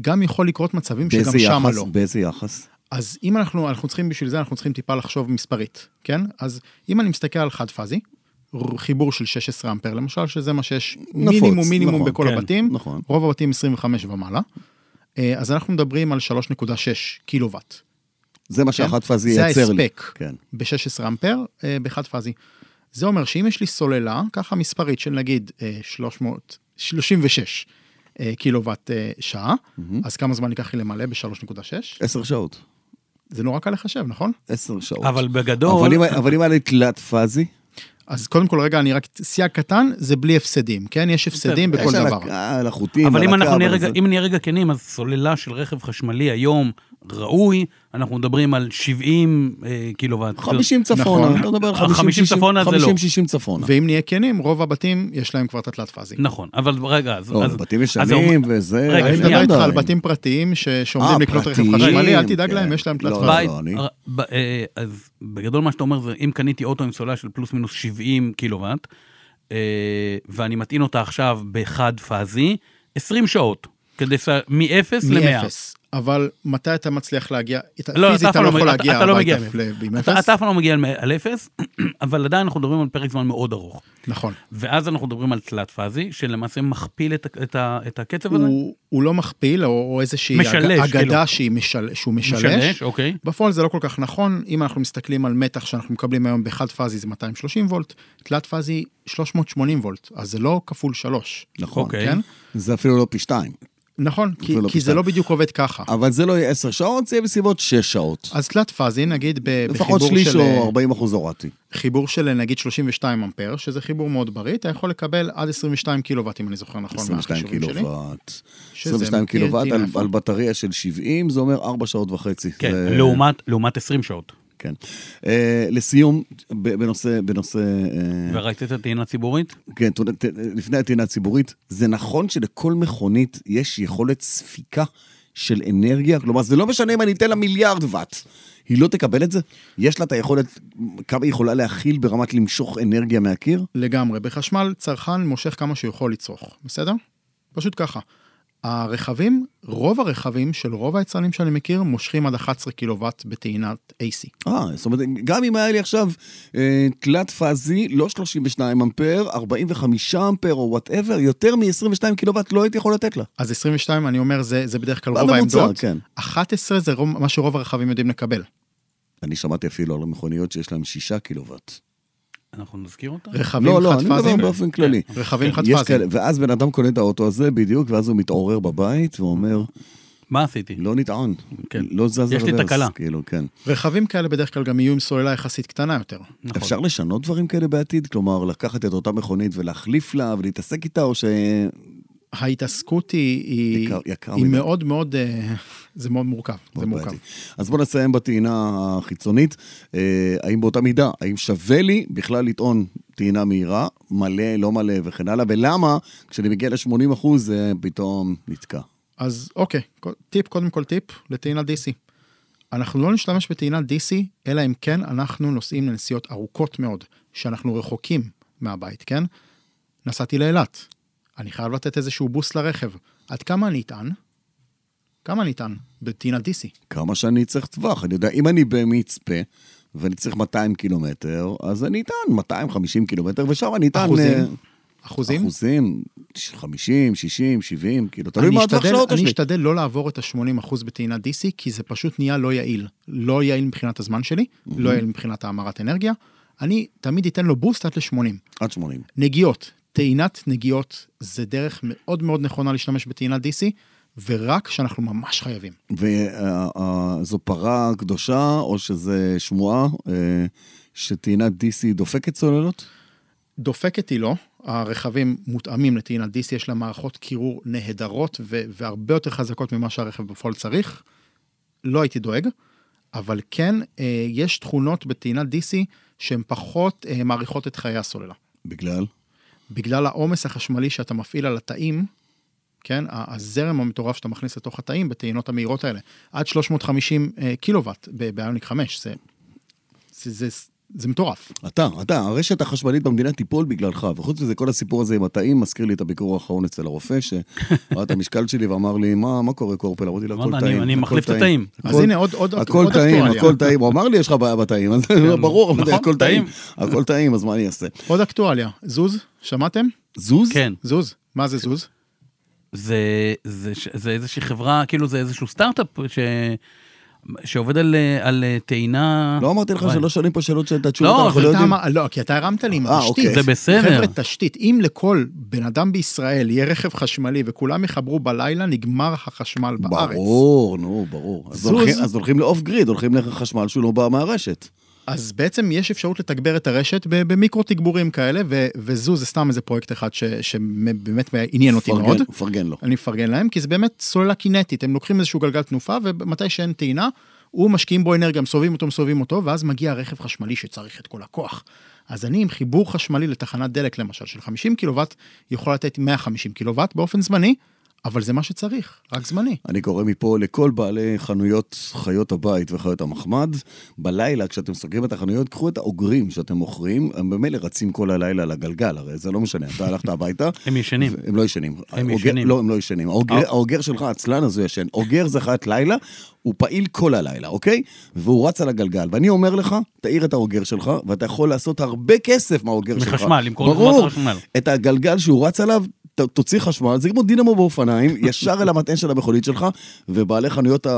C: גם יכול לקרות מצבים שגם
A: באיזה
C: שם
A: יחס?
C: לא.
A: באיזה יחס?
C: אז אם אנחנו, אנחנו צריכים בשביל זה, אנחנו צריכים טיפה לחשוב מספרית, כן? אז אם אני מסתכל על חד פאזי, ר- חיבור של 16 אמפר למשל, שזה מה שיש
A: נפוץ,
C: מינימום מינימום
A: נכון,
C: בכל
A: כן,
C: הבתים,
A: נכון.
C: רוב הבתים 25 ומעלה, אה, אז אנחנו מדברים על 3.6 קילוואט.
A: זה מה
C: כן?
A: שהחד-פאזי ייצר לי.
C: זה ההספק
A: כן.
C: ב-16 אמפר אה, בחד פאזי. זה אומר שאם יש לי סוללה, ככה מספרית של נגיד אה, 336 אה, קילוואט אה, שעה, אז כמה זמן ייקח לי למלא ב-3.6?
A: עשר שעות.
C: זה נורא קל לחשב, נכון?
A: עשר שעות.
B: אבל בגדול,
A: אבל אם- אבל אם היה לי תלת-פאזי?
C: אז קודם כל רגע, אני רק, סייג קטן, זה בלי הפסדים, כן? יש הפסדים
A: יש
C: בכל
A: על
C: דבר.
A: הק- על החוטים,
B: אבל
A: על
B: אם אנחנו
A: הקו,
B: נהיה
A: על
B: רגע,
A: זה.
B: אם נהיה רגע כנים, אז סוללה של רכב חשמלי היום ראוי, אנחנו מדברים על 70 אה, קילוואט.
A: 50
C: נכון.
A: צפונה, אתה מדבר על 50
B: 50 צפונה זה לא.
A: 50-60 צפונה.
C: ואם נהיה כנים, רוב הבתים יש להם כבר את התלת פאזי.
B: נכון, אבל רגע, אז...
A: לא,
B: אז-
A: בתים
B: אז זה אומר-
A: ישנים וזה...
B: רגע,
C: אני
B: שנייה.
C: מדבר איתך על
A: עדיין.
C: בתים פרטיים ש- שעומדים
A: אה,
C: לקנות רכב
A: פרטיים,
C: חשמלי, אל תדאג
A: כן.
C: להם, יש להם תלת
A: לא,
C: פאזי.
B: בית,
A: לא, אני-
B: ר- ב- אה, אז בגדול מה שאתה אומר זה, אם קניתי אוטו עם סוללה של פלוס מינוס 70 קילוואט, אה, ואני מטעין אותה עכשיו בחד פאזי, 20 שעות, כדי ש... מ-0 ל-100.
C: מאפס. אבל מתי אתה מצליח להגיע? אתה-
B: לא,
C: פיזית
B: אתה אף
C: אתה
B: פעם
C: לא
B: לא
C: יכול
B: מגיע-
C: להגיע
B: אתה לא מגיע
C: הביתה
B: מאפס.
C: ל- עם
B: אתה
C: אפס.
B: אתה אף פעם לא מגיע על- על 0, (clears throat) אבל עדיין אנחנו מדברים על פרק זמן מאוד ארוך.
C: נכון.
B: ואז אנחנו מדברים על תלת פאזי, שלמעשה מכפיל את, ה- את, ה- את הקצב הזה.
C: הוא- הוא לא מכפיל, או- או איזושהי
B: משלש,
C: אג- אגדה
B: כאילו.
C: שהיא משל- שהוא משלש.
B: משלש, אוקיי.
C: בפועל זה לא כל כך נכון, אם אנחנו מסתכלים על מתח שאנחנו מקבלים היום בחד פאזי זה 230 וולט, תלת פאזי 380 וולט, אז זה לא כפול 3.
A: נכון.
B: אוקיי.
C: כן?
A: זה אפילו לא פי שתיים.
C: נכון, כי,
A: לא
C: כי זה
A: פשוט.
C: לא בדיוק עובד ככה.
A: אבל זה לא יהיה עשר שעות, זה יהיה בסביבות שש שעות.
C: אז תלת פאזי, נגיד ב-
A: לפחות
C: בחיבור
A: שליש
C: של,
A: או 40 אחוז הורדתי.
B: נכון,
C: חיבור של נגיד 32 אמפר, שזה חיבור מאוד בריא, אתה יכול לקבל עד 22 קילוואט, אם אני זוכר נכון,
A: 22
C: מהחישובים שלי.
A: קילוואט.
C: שזה
A: 22
C: מכיר
A: קילוואט
C: אותי
A: על-
C: מאיפה.
A: על בטריה של 70, זה אומר 4 שעות וחצי.
B: כן,
A: זה-
B: לעומת, לעומת 20 שעות.
A: כן. אה, לסיום, ב- בנושא, בנושא, אה,
B: וראית את הטעינה הציבורית?
A: כן, ת- ת- לפני הטעינה הציבורית, זה נכון שלכל מכונית יש יכולת ספיקה של אנרגיה? כלומר, זה לא משנה אם אני אתן לה מיליארד ואט, היא לא תקבל את זה? יש לה את היכולת, כמה היא יכולה להכיל ברמת למשוך אנרגיה מהקיר?
C: לגמרי. בחשמל צרכן מושך כמה שהוא יכול לצרוך, בסדר? פשוט ככה. הרכבים, רוב הרכבים של רוב היצרנים שאני מכיר, מושכים עד 11 קילוואט בטעינת AC.
A: אה, זאת אומרת, גם אם היה לי עכשיו אה, תלת פאזי, לא 32 אמפר, 45 אמפר או וואטאבר, יותר מ-22 קילוואט לא הייתי יכול לתת לה.
C: אז 22, אני אומר, זה, זה בדרך כלל רוב
A: בממוצע,
C: העמדות.
A: כן.
C: 11 זה רוב, מה שרוב הרכבים יודעים לקבל.
A: אני שמעתי אפילו על המכוניות שיש להן 6 קילוואט.
B: אנחנו נזכיר אותה?
C: רכבים
A: לא, לא, אני מדבר
C: חד-פאזיים,
A: באופן
C: כן.
A: כללי.
C: רכבים
A: יש
C: חד-פאזיים.
A: כאלה, ואז בן אדם קונה את האוטו הזה בדיוק, ואז הוא מתעורר בבית ואומר,
B: מה עשיתי?
A: לא נטען,
B: כן.
A: לא זז
B: יש לי
A: הרוורס",
B: תקלה.
A: כאילו, כן.
C: רכבים כאלה בדרך כלל גם יהיו עם סוללה יחסית קטנה יותר.
B: נכון.
A: אפשר לשנות דברים כאלה בעתיד? כלומר, לקחת את אותה מכונית ולהחליף לה ולהתעסק איתה, או ש...
C: ההתעסקות היא, היא,
A: יקר- יקר
C: היא
A: מדי.
C: מאוד מאוד, אה, זה מאוד מורכב, זה
A: מאוד
C: מורכב.
A: בעייתי. אז בואו נסיים בטעינה החיצונית. אה, האם באותה מידה, האם שווה לי בכלל לטעון טעינה מהירה, מלא, לא מלא וכן הלאה, ולמה כשאני מגיע ל-80 אחוז זה פתאום נתקע?
C: אז אוקיי, קו- טיפ, קודם כל טיפ לטעינת DC. אנחנו לא נשתמש בטעינת DC, אלא אם כן אנחנו נוסעים לנסיעות ארוכות מאוד, שאנחנו רחוקים מהבית, כן? נסעתי לאילת, אני חייב לתת איזשהו בוסט לרכב. עד כמה אני אטען? כמה אני אטען בטעינת DC?
A: כמה שאני צריך טווח. אני יודע, אם אני במצפה ואני צריך 200 קילומטר, אז אני אטען 250 קילומטר, ושם אני אטען...
C: אחוזים?
A: אה,
C: אחוזים?
A: אחוזים, 50, 60, 70, כאילו, תלוי
C: אני
A: מה הטווח של
C: אשתדל,
A: האוטו
C: אני
A: שלי.
C: אשתדל לא לעבור את ה-80% בטעינת DC, כי זה פשוט נהיה לא יעיל. לא יעיל מבחינת הזמן שלי, לא יעיל מבחינת האמרת אנרגיה. אני תמיד אתן לו בוסט עד ל-80.
A: עד 80.
C: נגיעות, טעינת נגיעות, זה דרך מאוד מאוד נכונה להשתמש בטעינת DC, ורק כשאנחנו ממש חייבים.
A: וזו פרה קדושה, או שזה שמועה, אה, שטעינת DC דופקת צוללות?
C: דופקת היא לא, הרכבים מותאמים לטעינת DC, יש לה מערכות קירור נהדרות ו- והרבה יותר חזקות ממה שהרכב בפועל צריך. לא הייתי דואג, אבל כן, אה, יש תכונות בטעינת DC שהן פחות אה, מעריכות את חיי הסוללה.
A: בגלל?
C: בגלל העומס החשמלי שאתה מפעיל על התאים, כן, ה- הזרם המטורף שאתה מכניס לתוך התאים בטעינות המהירות האלה, עד 350 אה, קילוואט ב- באיוניק 5, זה, זה, זה, זה, זה מטורף.
A: אתה, אתה, הרשת החשמלית במדינה תיפול בגללך, וחוץ מזה כל הסיפור הזה עם התאים מזכיר לי את הביקור האחרון אצל הרופא, שראה את המשקל שלי ואמר לי, מה, מה קורה קורפל? אמרתי לו, הכל
B: אמרת,
A: טעים.
B: אני- אני
A: הכל
B: מחליף את
A: טעים."
B: התאים.
C: אז
A: הכל-
C: הנה, עוד- עוד-
A: הכל
C: עוד
A: טעים,
C: אקטואליה.
A: הכל טעים. הוא אמר לי, יש לך בעיה בתאים, אז
C: כן.
A: לא (laughs) ברור, אבל
B: נכון,
A: הכל טעים. הכל טעים, אז מה אני אעשה?
C: עוד אקטואליה, זוז, שמעתם?
A: זוז?
B: כן.
C: זוז, מה זה זוז?
B: זה, זה, ש- זה איזושהי חברה, כאילו זה איזשהו סטארט-אפ ש, שעובד על, אה, על אה, טעינה...
A: לא אמרתי לך
B: וואי.
A: שלא שואלים פה שאלות שאתה תשובות,
B: לא,
A: אנחנו
B: אבל
A: לא
C: אתה
A: יודעים.
C: אמר- לא, כי אתה הרמת לי עם
A: אה,
C: התשתית.
A: אוקיי.
B: זה בסדר.
C: חבר'ה, תשתית. אם לכל בן אדם בישראל יהיה רכב חשמלי וכולם יחברו בלילה, נגמר החשמל בארץ.
A: ברור, נו, ברור. אז
C: זוז.
A: הולכים- אז הולכים לאוף גריד, הולכים לחשמל שהוא לא בא מהרשת.
C: אז בעצם יש אפשרות לתגבר את הרשת ב- במיקרו תגבורים כאלה, ו- וזו זה סתם איזה פרויקט אחד ש- שבאמת עניין אותי
A: פרגן-
C: מאוד.
A: פרגן לו.
C: אני מפרגן להם, כי זה באמת סוללה קינטית, הם לוקחים איזשהו גלגל תנופה, ומתי שאין טעינה, הוא משקיעים בו אנרגיה, מסובבים אותו, מסובבים אותו, ואז מגיע רכב חשמלי שצריך את כל הכוח. אז אני עם חיבור חשמלי לתחנת דלק, למשל, של 50 קילוואט, יכול לתת 150 קילוואט באופן זמני, אבל זה מה שצריך, רק זמני.
A: אני קורא מפה לכל בעלי חנויות חיות הבית וחיות המחמד, בלילה כשאתם סוגרים את החנויות, קחו את האוגרים שאתם מוכרים, הם במילא רצים כל הלילה על הגלגל, הרי זה לא משנה, אתה הלכת הביתה.
B: הם ישנים.
A: ו- הם לא ישנים.
B: הם
A: האוגר-
B: ישנים.
A: לא, הם לא ישנים. האוגר- האוגר שלך, עצלן הזה ישן. אוגר זה חיית לילה, הוא פעיל כל הלילה, אוקיי? והוא רץ על הגלגל. ואני אומר לך, תאיר את האוגר שלך, ואתה יכול לעשות הרבה כסף מהאוגר שלך.
B: מחשמל, למכור את זה
A: ברור.
B: מחשמל.
A: את הגלגל שהוא רץ עליו, ת- תוציא חשמל, זה כמו דינמו (laughs) באופניים, ישר אל המטען של המכונית שלך, ובעלי חנויות, ה...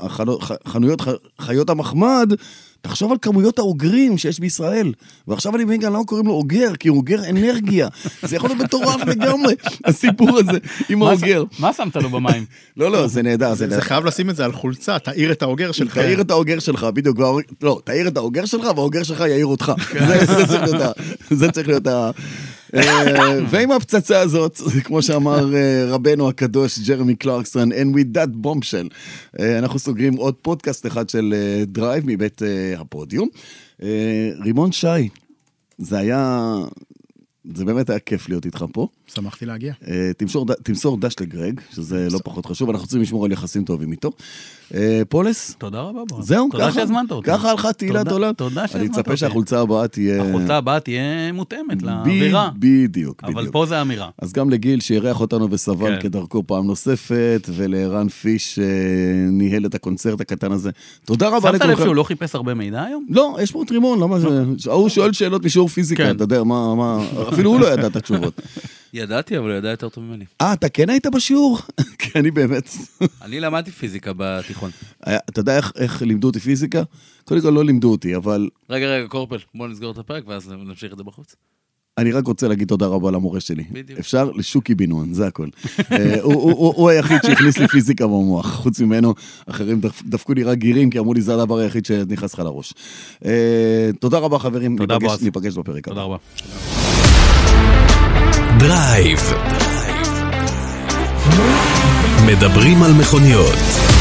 A: החנו... ח- חנויות ח... חיות המחמד, תחשוב על כמויות האוגרים שיש בישראל. ועכשיו אני מבין גם למה קוראים לו אוגר, כי הוא אוגר אנרגיה. זה יכול להיות מטורף לגמרי, (laughs) הסיפור הזה עם
B: מה ש-
A: האוגר.
B: מה שמת לו
A: (laughs)
B: במים?
A: לא, לא, זה נהדר, זה
C: זה
A: נהדר.
C: חייב לשים את זה על חולצה, תאיר את האוגר שלך.
A: תאיר את האוגר שלך, בדיוק, והאוג- לא, תאיר את האוגר שלך והאוגר שלך יעיר אותך. זה- זה צריך להיות ה- זה צריך להיות ה... אה, ועם הפצצה הזאת, כמו שאמר אה, רבנו הקדוש ג'רמי קלרקסון, and with that bombshell, אה, אנחנו סוגרים עוד פודקאסט אחד של אה, דרייב מבית אה, הפודיום. אה, רימון שי, זה היה זה באמת היה כיף להיות איתך פה.
C: שמחתי להגיע.
A: אה, תמסור, ד- תמסור דש לגרג, שזה לא פחות חשוב, אנחנו צריכים לשמור על יחסים טובים איתו. אה, פולס,
B: תודה רבה, בועז.
A: זהו,
B: נכון. תודה
A: ככה-
B: שהזמנת אותי.
A: ככה הלכה תהילת
B: תודה-
A: עולם.
B: תודה
A: אני
B: שהזמנת
A: מצפה
B: אותי.
A: שהחולצה הבאה תהיה...
B: החולצה הבאה תהיה מותאמת לאווירה,
A: ב- בדיוק,
B: אבל
A: בדיוק.
B: פה זה אמירה.
A: אז גם לגיל שאירח אותנו וסבל
B: כן.
A: כדרכו פעם נוספת, ולערן פיש שניהל את הקונצרט הקטן הזה. תודה רבה
B: שמת
A: לכולכם.
B: לב שהוא לא חיפש הרבה מידע היום?
A: לא, יש פה עוד רימון, למה זה... ההוא שואל שאלות משיעור פיזיקה,
B: כן.
A: אתה יודע, מה... מה- אפילו הוא לא ידע את
B: (laughs)
A: התשובות.
D: ידעתי, אבל הוא ידע יותר טוב ממני.
A: אה, אתה כן היית בשיעור? (laughs) כי אני באמת...
D: אני למדתי פיזיקה בתיכון.
A: היה- אתה יודע איך- איך לימדו אותי פיזיקה? קודם כל לא לימדו אותי, אבל
D: רגע, רגע, קורפל, בוא נסגור את הפרק ואז נמשיך את זה בחוץ.
A: אני רק רוצה להגיד תודה רבה למורה שלי.
D: בדיוק.
A: אפשר לשוקי בנואן, זה הכל. אה, הוא- הוא הוא- הוא היחיד שהכניס לי פיזיקה במוח, חוץ ממנו, אחרים דפ- דפקו לי רק גירים, כי אמרו לי זה הדבר היחיד שנכנס לך לראש. אה, תודה רבה חברים,
B: תודה,
A: ניפגש-
B: בועז.
A: ניפגש בפרק הבא.
B: תודה רבה.
E: דרייב. מדברים על מכוניות.